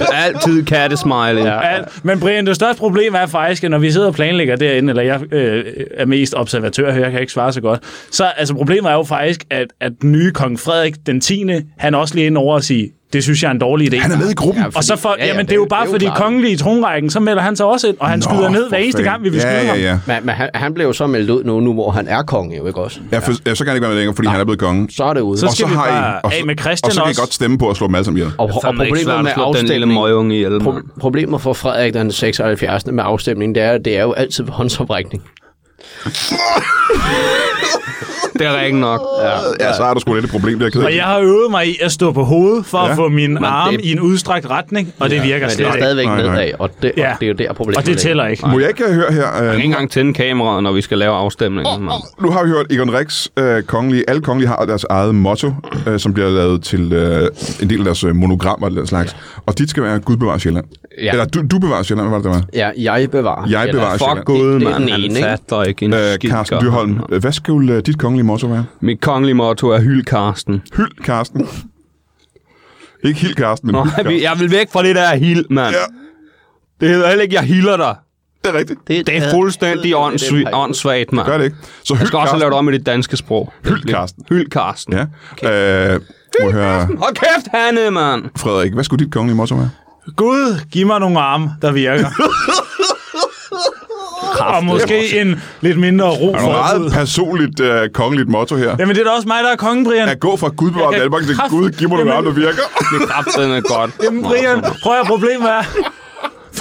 C: Altid kattesmile, ja.
B: Alt. Men Brian, det største problem er faktisk, at når vi sidder og planlægger derinde, eller jeg øh, er mest observatør her, jeg kan ikke svare så godt, så altså, problemet er jo faktisk, at, at den nye kong Frederik den 10., han er også lige ind over og sige, det synes jeg er en dårlig idé.
A: han er med i gruppen.
B: og så for,
D: ja,
B: ja,
D: ja,
B: jamen, det,
D: det-
B: er jo
D: det er
B: bare
D: jo
B: fordi
D: klart.
B: kongelige i tronrækken, så melder han sig også ind, og han Nå, skyder ned hver
A: for
B: eneste
A: fanden.
B: gang, vi vil
A: ja,
B: skyde
A: ja,
B: ham.
A: ja.
D: Men, men han, han blev jo så meldt ud nu, nu hvor han er konge, jo ikke også?
A: Jeg, for, jeg, så kan han ikke være med længere, fordi han er blevet konge.
D: Så er det ude.
B: Så
A: og
B: skal
A: så
B: vi
A: har I,
B: bare
A: og, så,
B: af med Christian
A: og så kan I
B: også.
A: godt stemme på at slå dem alle sammen ihjel.
D: og, og
C: Fandme ikke
D: problemet
C: svært at
D: med
C: slå Den lille
D: afstemning,
C: møgunge ihjel, mand.
D: pro- problemet for Frederik den 76. med afstemningen, det er, det er jo altid ved håndsoprækning.
C: Det er rigtigt nok. Ja.
A: Ja, så har du sgu lidt et problem, der
B: Og
A: keder.
B: jeg har øvet mig i at stå på hovedet for ja,
A: Ja,
B: at få min arm
D: det-
B: i en udstrakt retning, og det virker
D: Men det
B: slet
D: er
B: ikke.
D: stadigvæk
A: Nej, nej.
D: nedad, og det,
B: Ja.
D: og det er jo der problemet
B: Og det
D: ligger.
B: tæller ikke.
A: Må jeg ikke øh, høre her... Øh,
C: Ikke engang tænde kameraet, når vi skal lave afstemningen, mand.
A: nu har vi hørt Egon Rex, øh, kongelige, alle kongelige har deres eget motto, øh, som bliver lavet til øh, en del af deres øh, monogrammer og den slags. Og dit skal være, Gud bevarer Sjælland.
D: Ja.
A: Eller du, du bevarer Sjælland, hvad var det, der var?
D: Ja, jeg bevarer.
A: Jeg
D: Eller
A: bevarer
D: fuck
A: Sjælland.
D: Gud,
C: Gud,
D: det er
C: mand.
D: den
C: Han
D: ene, ikke?
C: fatter ikke. ikke en
A: Øh,
C: skid
A: Carsten
C: gør.
A: Dyrholm, øh, hvad skulle øh, dit kongelige motto være?
C: Mit kongelige motto er hyld Karsten.
A: Hyld, Carsten. Ikke helt Carsten, men Nå,
C: Nå,
A: hyld,
C: jeg vil-
A: Carsten.
C: jeg vil væk fra det der hild, mand.
A: Ja.
C: Ja. Det hedder heller ikke, jeg hilder dig.
A: Det er rigtigt.
C: Det er fuldstændig åndssvagt, åndssvagt mand.
A: Gør det ikke. Så
C: Jeg
A: hyld,
C: skal også
A: Carsten.
C: lave det om i det danske sprog.
A: Hyld Karsten.
C: Hyld Karsten.
A: Ja. Øh, må jeg høre,
C: Hold kæft, Hanne, mand.
A: Frederik, hvad skulle dit kongelige motto være?
B: Gud, giv mig nogle arme, der virker. og måske en lidt mindre ro
A: Er der noget meget
B: forud.
A: personligt øh, kongeligt motto her?
B: Jamen, det er da også mig, der er kongen, Brian.
A: At gå fra Gud bevarer
B: Jeg kan
A: Danmark til
B: kraft-
A: Gud, giv mig nogle
B: Jamen-
A: arme, der virker.
C: Det er kraftedeme godt.
B: Jamen, Brian, prøv at høre, problemet er,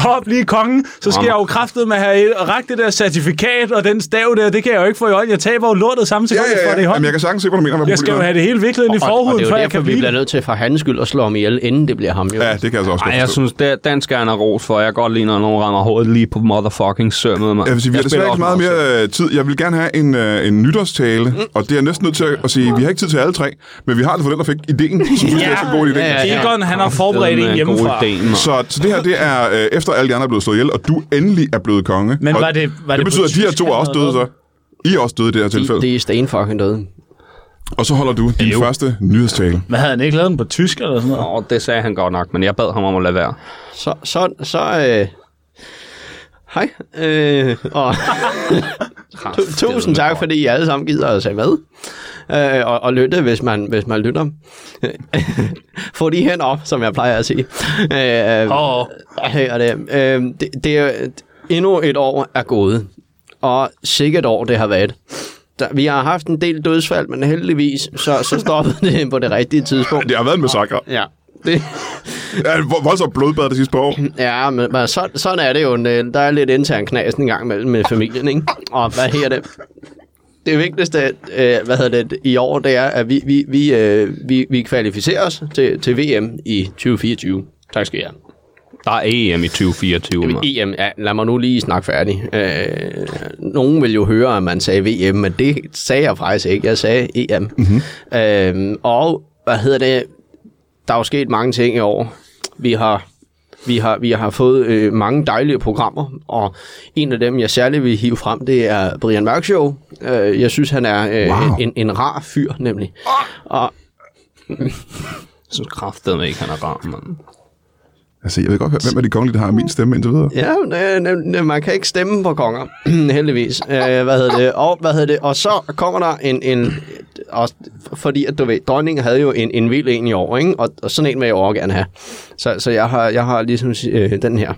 B: for at blive kongen, så skal
C: Jamen.
B: jeg jo kraftet med at have et- rakt det der certifikat og den stav der, det kan jeg jo ikke få i øjnene. Jeg taber jo lortet samme
A: Ja,
B: sekund, jeg
A: ja,
B: får
A: ja.
B: det i
A: Jamen,
B: hånden.
A: jeg kan sagtens se, hvad du mener. Hvad
B: Jeg skal jo
A: problemet er.
B: have det hele viklet ind i
D: Og, og det
B: forhuden,
D: er
B: før
D: jo
B: jeg
D: derfor,
B: kan
D: vi
B: blive
D: bliver
B: det.
D: nødt til for hans skyld at slå ham ihjel, inden det bliver ham. Jo.
A: Ja, det kan jeg så også
C: Ej,
A: godt
C: jeg
A: forstå.
C: synes, det, dansk er en ros for. Jeg kan godt lide, når nogen rammer hovedet lige på motherfucking sømmet, mand.
A: Jeg vil sige, vi har desværre ikke meget mere øh, tid. Jeg vil gerne have en, øh, en nytårstale, og det er jeg næsten nødt til at, at sige, vi har ikke tid til alle tre, men vi har det for den, der fik ideen, som synes, det er så god idé.
D: Ja, ja, ja.
B: Egon, han har forberedt en hjemmefra.
A: Så, så det her, det er øh, efter alle de andre er blevet slået ihjel, og du endelig er blevet konge.
B: Men
A: og
B: var det- var
A: det
B: det på
A: betyder, at de her to er også døde så. I er også døde i det her tilfælde.
D: Det, det er stenfucking døde.
A: Og så holder du din første nyhedstale.
B: Hvad havde han ikke lavet den på tysk eller sådan noget?
C: Åh, det sagde han godt nok, men jeg bad ham om at lade være.
D: Så, så, så, øh, hej, øh, og tu- tusind tak, fordi I alle sammen gider at se med. Øh, og, og lytte, hvis man, hvis man lytter. Få de hen op, som jeg plejer at sige. Øh,
B: Åh,
D: Her er det. Øh, det, det er, endnu et år er gået, og sikkert år det har været. Der, vi har haft en del dødsfald, men heldigvis så, så stoppede det på det rigtige tidspunkt.
A: Det har været en massakre.
D: Ja, det,
A: Ja, vo- voldsomt blodbad det sidste par år.
D: ja men, men så, sådan er det jo. Niel. Der er lidt intern knas en gang mellem med familien, ikke? Og hvad her det? Det vigtigste øh, hvad hedder det, i år, det er, at vi, vi, vi, øh, vi, vi kvalificerer os til, til VM i 2024. Tak skal I have.
C: Der er EM i 2024, mand.
D: Jamen, EM, ja, lad mig nu lige snakke færdig. Øh, nogen vil jo høre, at man sagde VM, men det sagde jeg faktisk ikke. Jeg sagde EM. Mm-hmm. Øh, og hvad hedder det? Der er jo sket mange ting i år. Vi har, vi har, vi har fået øh, mange dejlige programmer, og en af dem, jeg særlig vil hive frem, det er Brian Mørk Show. Øh, jeg synes, han er øh,
A: Wow.
D: wow. en, en rar fyr, nemlig. Og,
C: Jeg synes kraftedeme ikke, han er rar, mand.
A: Altså, jeg ved godt, hvem er de kongelige, der har min stemme indtil videre?
D: Ja, ne, ne, ne, man kan ikke stemme på konger, heldigvis. Øh, hvad hedder det? Og, hvad hedder det? og så kommer der en... en og, fordi at du ved, dronningen havde jo en, en vild en i år, ikke? Og, og sådan en vil jeg også gerne have. Så, så jeg, har, jeg har ligesom øh, den her.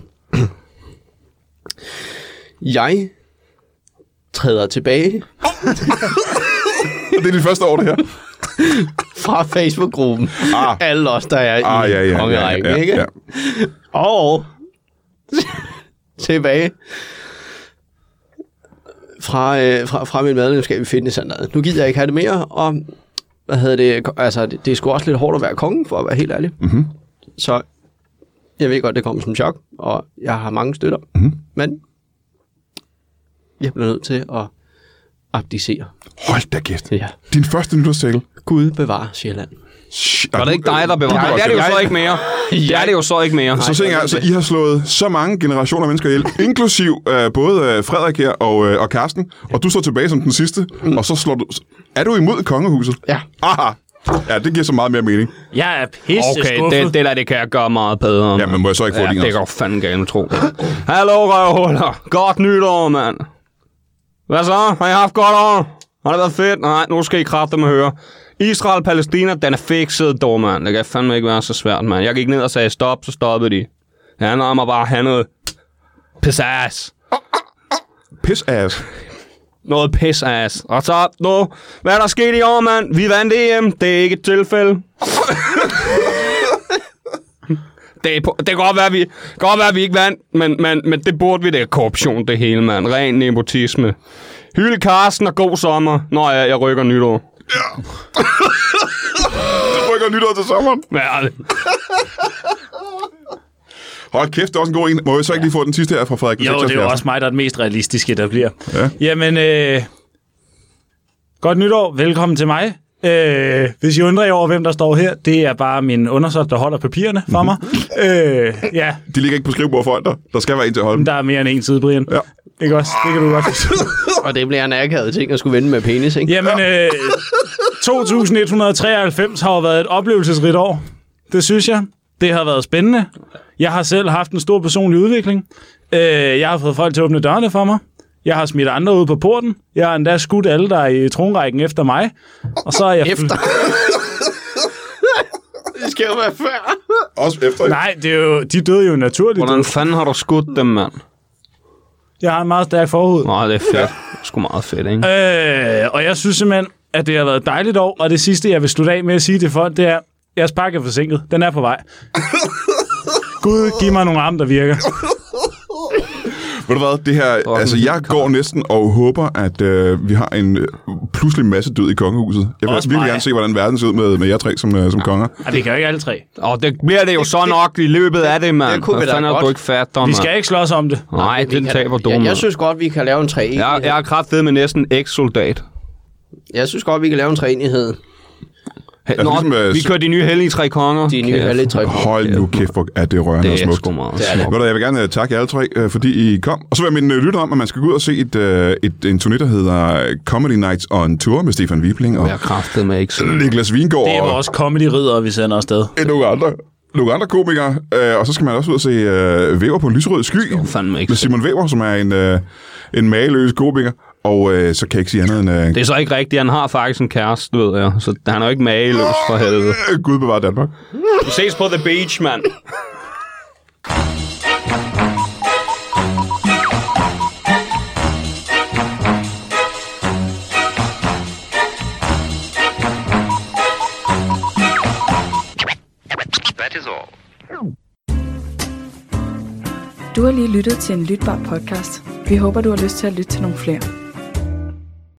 D: Jeg træder tilbage
A: Og det er dit første år, det her.
D: fra Facebook-gruppen.
A: Ah.
D: Ah. Alle os, der er
A: Ah,
D: i
A: ja, ja, ja, ja,
D: kongerækken,
A: ja,
D: ikke?
A: ja.
D: Og tilbage fra, øh, fra, fra mit medlemskab i fitnesscenteret. Nu gider jeg ikke have det mere, og hvad hedder det, ko- altså, det, det er sgu også lidt hårdt at være konge, for at være helt ærlig.
A: Mhm.
D: Mm-hmm. Så jeg ved godt, det kommer som chok, og jeg har mange støtter, mm-hmm.
A: Mhm.
D: men jeg bliver nødt til at abdicere.
A: Hold da kæft.
D: Ja.
A: Din første nytårstale.
D: Gud bevarer Sjælland.
A: Shit,
C: Var det ikke dig, der bevarer?
A: Nej,
C: Nej, det er det jo så ikke mere. Det er det jo så ikke mere.
A: Så tænker jeg, altså, I har slået så mange generationer af mennesker ihjel, inklusiv øh, både øh, Frederik her og, øh, og Karsten, og du står tilbage som den sidste,
B: Mm.
A: og så slår du... Er du imod kongehuset?
D: Ja.
A: Aha. Ja, det giver så meget mere mening.
B: jeg er pisse
C: Okay,
B: skuffet.
C: det, det der, det kan jeg gøre meget bedre.
A: Ja, men må jeg så ikke få
C: ja,
A: din
C: det
A: også?
C: kan du fandme gerne tro. Hallo, røvhuller. Godt nytår, mand. Hvad så? Har I haft godt år? Har det været fedt? Nej, nu skal I kræfte med høre. Israel Palæstina, den er fikset, dog, mand. Det kan fandme ikke være så svært, mand. Jeg gik ned og sagde stop, så stoppede de. Det handler om at bare have noget pisass.
A: Piss ass.
C: Noget pisass. Og så, nu, hvad er der sket i år, mand? Vi vandt EM. Det er ikke et tilfælde. Det, er på, det kan godt være, vi, kan godt være, vi ikke vandt, men, men, men det burde vi. Det er korruption, det hele, mand. Ren nepotisme. Hylde Karsten og god sommer. Nå ja, jeg rykker nytår.
A: Du rykker nytår til sommeren.
C: Hvad er det?
A: Hold kæft, det er også en god en. Må jeg så ikke lige få den sidste her fra Frederik? den
B: Jo, det er
A: 76'er?
B: jo også mig, der er den mest realistiske, der bliver. Ja. Jamen, øh, godt nytår. Velkommen til mig. Øh, hvis I undrer jer over, hvem der står her, det er bare min undersøgt, der holder papirerne for mig. øh, ja,
A: De ligger ikke på skrivebord for dig. Der skal være en til at holde dem.
B: der er mere end en side, Brian.
A: Ja.
B: Ikke også? Det kan du godt forstå.
D: Og det bliver en akavet ting at skulle vende med penis, ikke?
B: Jamen, øh, 2193 har jo været et oplevelsesrigt år. Det synes jeg. Det har været spændende. Jeg har selv haft en stor personlig udvikling. Øh, jeg har fået folk til at åbne dørene for mig. Jeg har smidt andre ud på porten. Jeg har endda skudt alle, der er i tronrækken efter mig. Og så er jeg...
D: Efter. Det skal jo være før.
A: Også efter.
B: Nej, det er jo, de døde jo naturligt.
C: Hvordan fanden har du skudt dem, mand?
B: Jeg har en meget stærk forhud.
C: Nå, det er fedt. Sgu meget fedt, ikke?
B: Øh, og jeg synes simpelthen, at det har været et dejligt år, og det sidste, jeg vil slutte af med at sige til folk, det er, jeres pakke er forsinket. Den er på vej. Gud, giv mig nogle arme, der virker.
A: Ved du hvad, det her,
C: Fucking
A: altså jeg går næsten og håber, at øh, vi har en øh, pludselig masse død i kongehuset. Jeg vil
B: Også
A: Også virkelig
B: mig.
A: gerne se, hvordan verden ser ud med, med jer tre som, øh, som konger.
B: Og det kan jo ikke alle tre.
C: Og det bliver det jo så nok i løbet af det, mand.
D: det kunne vi
C: Hvad
D: da
C: fanden har
D: godt.
C: du ikke fat om,
B: Vi skal ikke slås om det.
C: Nej, den taber du,
D: jeg, jeg
C: mand.
D: synes godt, vi kan lave en træenighed.
C: Jeg, jeg er kraftedet med næsten eks-soldat.
D: Jeg synes godt, vi kan lave en træenighed.
C: Nå,
A: ligesom, øh,
C: vi kører de nye hellige tre konger.
D: De nye alle tre.
A: Hold nu kæft, hvor er det rørende og
C: Det er
A: smukt.
C: sgu meget.
D: Det er det.
A: Ved du, jeg vil gerne øh, takke jer alle tre, øh, fordi I kom. Og så vil jeg minde øh, lytter om, at man skal gå ud og se et, øh, et, en turné, der hedder øh, Comedy Nights on Tour med Stefan Wibling og
C: Jeg er kraftedet med ikke
A: Niklas Vingård.
B: Det er
A: og-
B: vores comedy-ridder, vi sender afsted.
A: end nogle andre, nogle andre komikere. Øh, og så skal man også ud og se øh, Væver på en lyserød sky
C: fandme ikke
A: med
C: se.
A: Simon Væver, som er en, øh, en mageløs komiker. Og øh, så kan jeg ikke sige andet end... Øh,
C: Det er så ikke rigtigt. Han har faktisk en kæreste, ved jeg. Så han er jo ikke mageløs for helvede.
A: øh, Gud bevarer Danmark.
C: Vi ses på The Beach, mand.
E: Du har lige lyttet til en lytbar podcast. Vi håber, du har lyst til at lytte til nogle flere.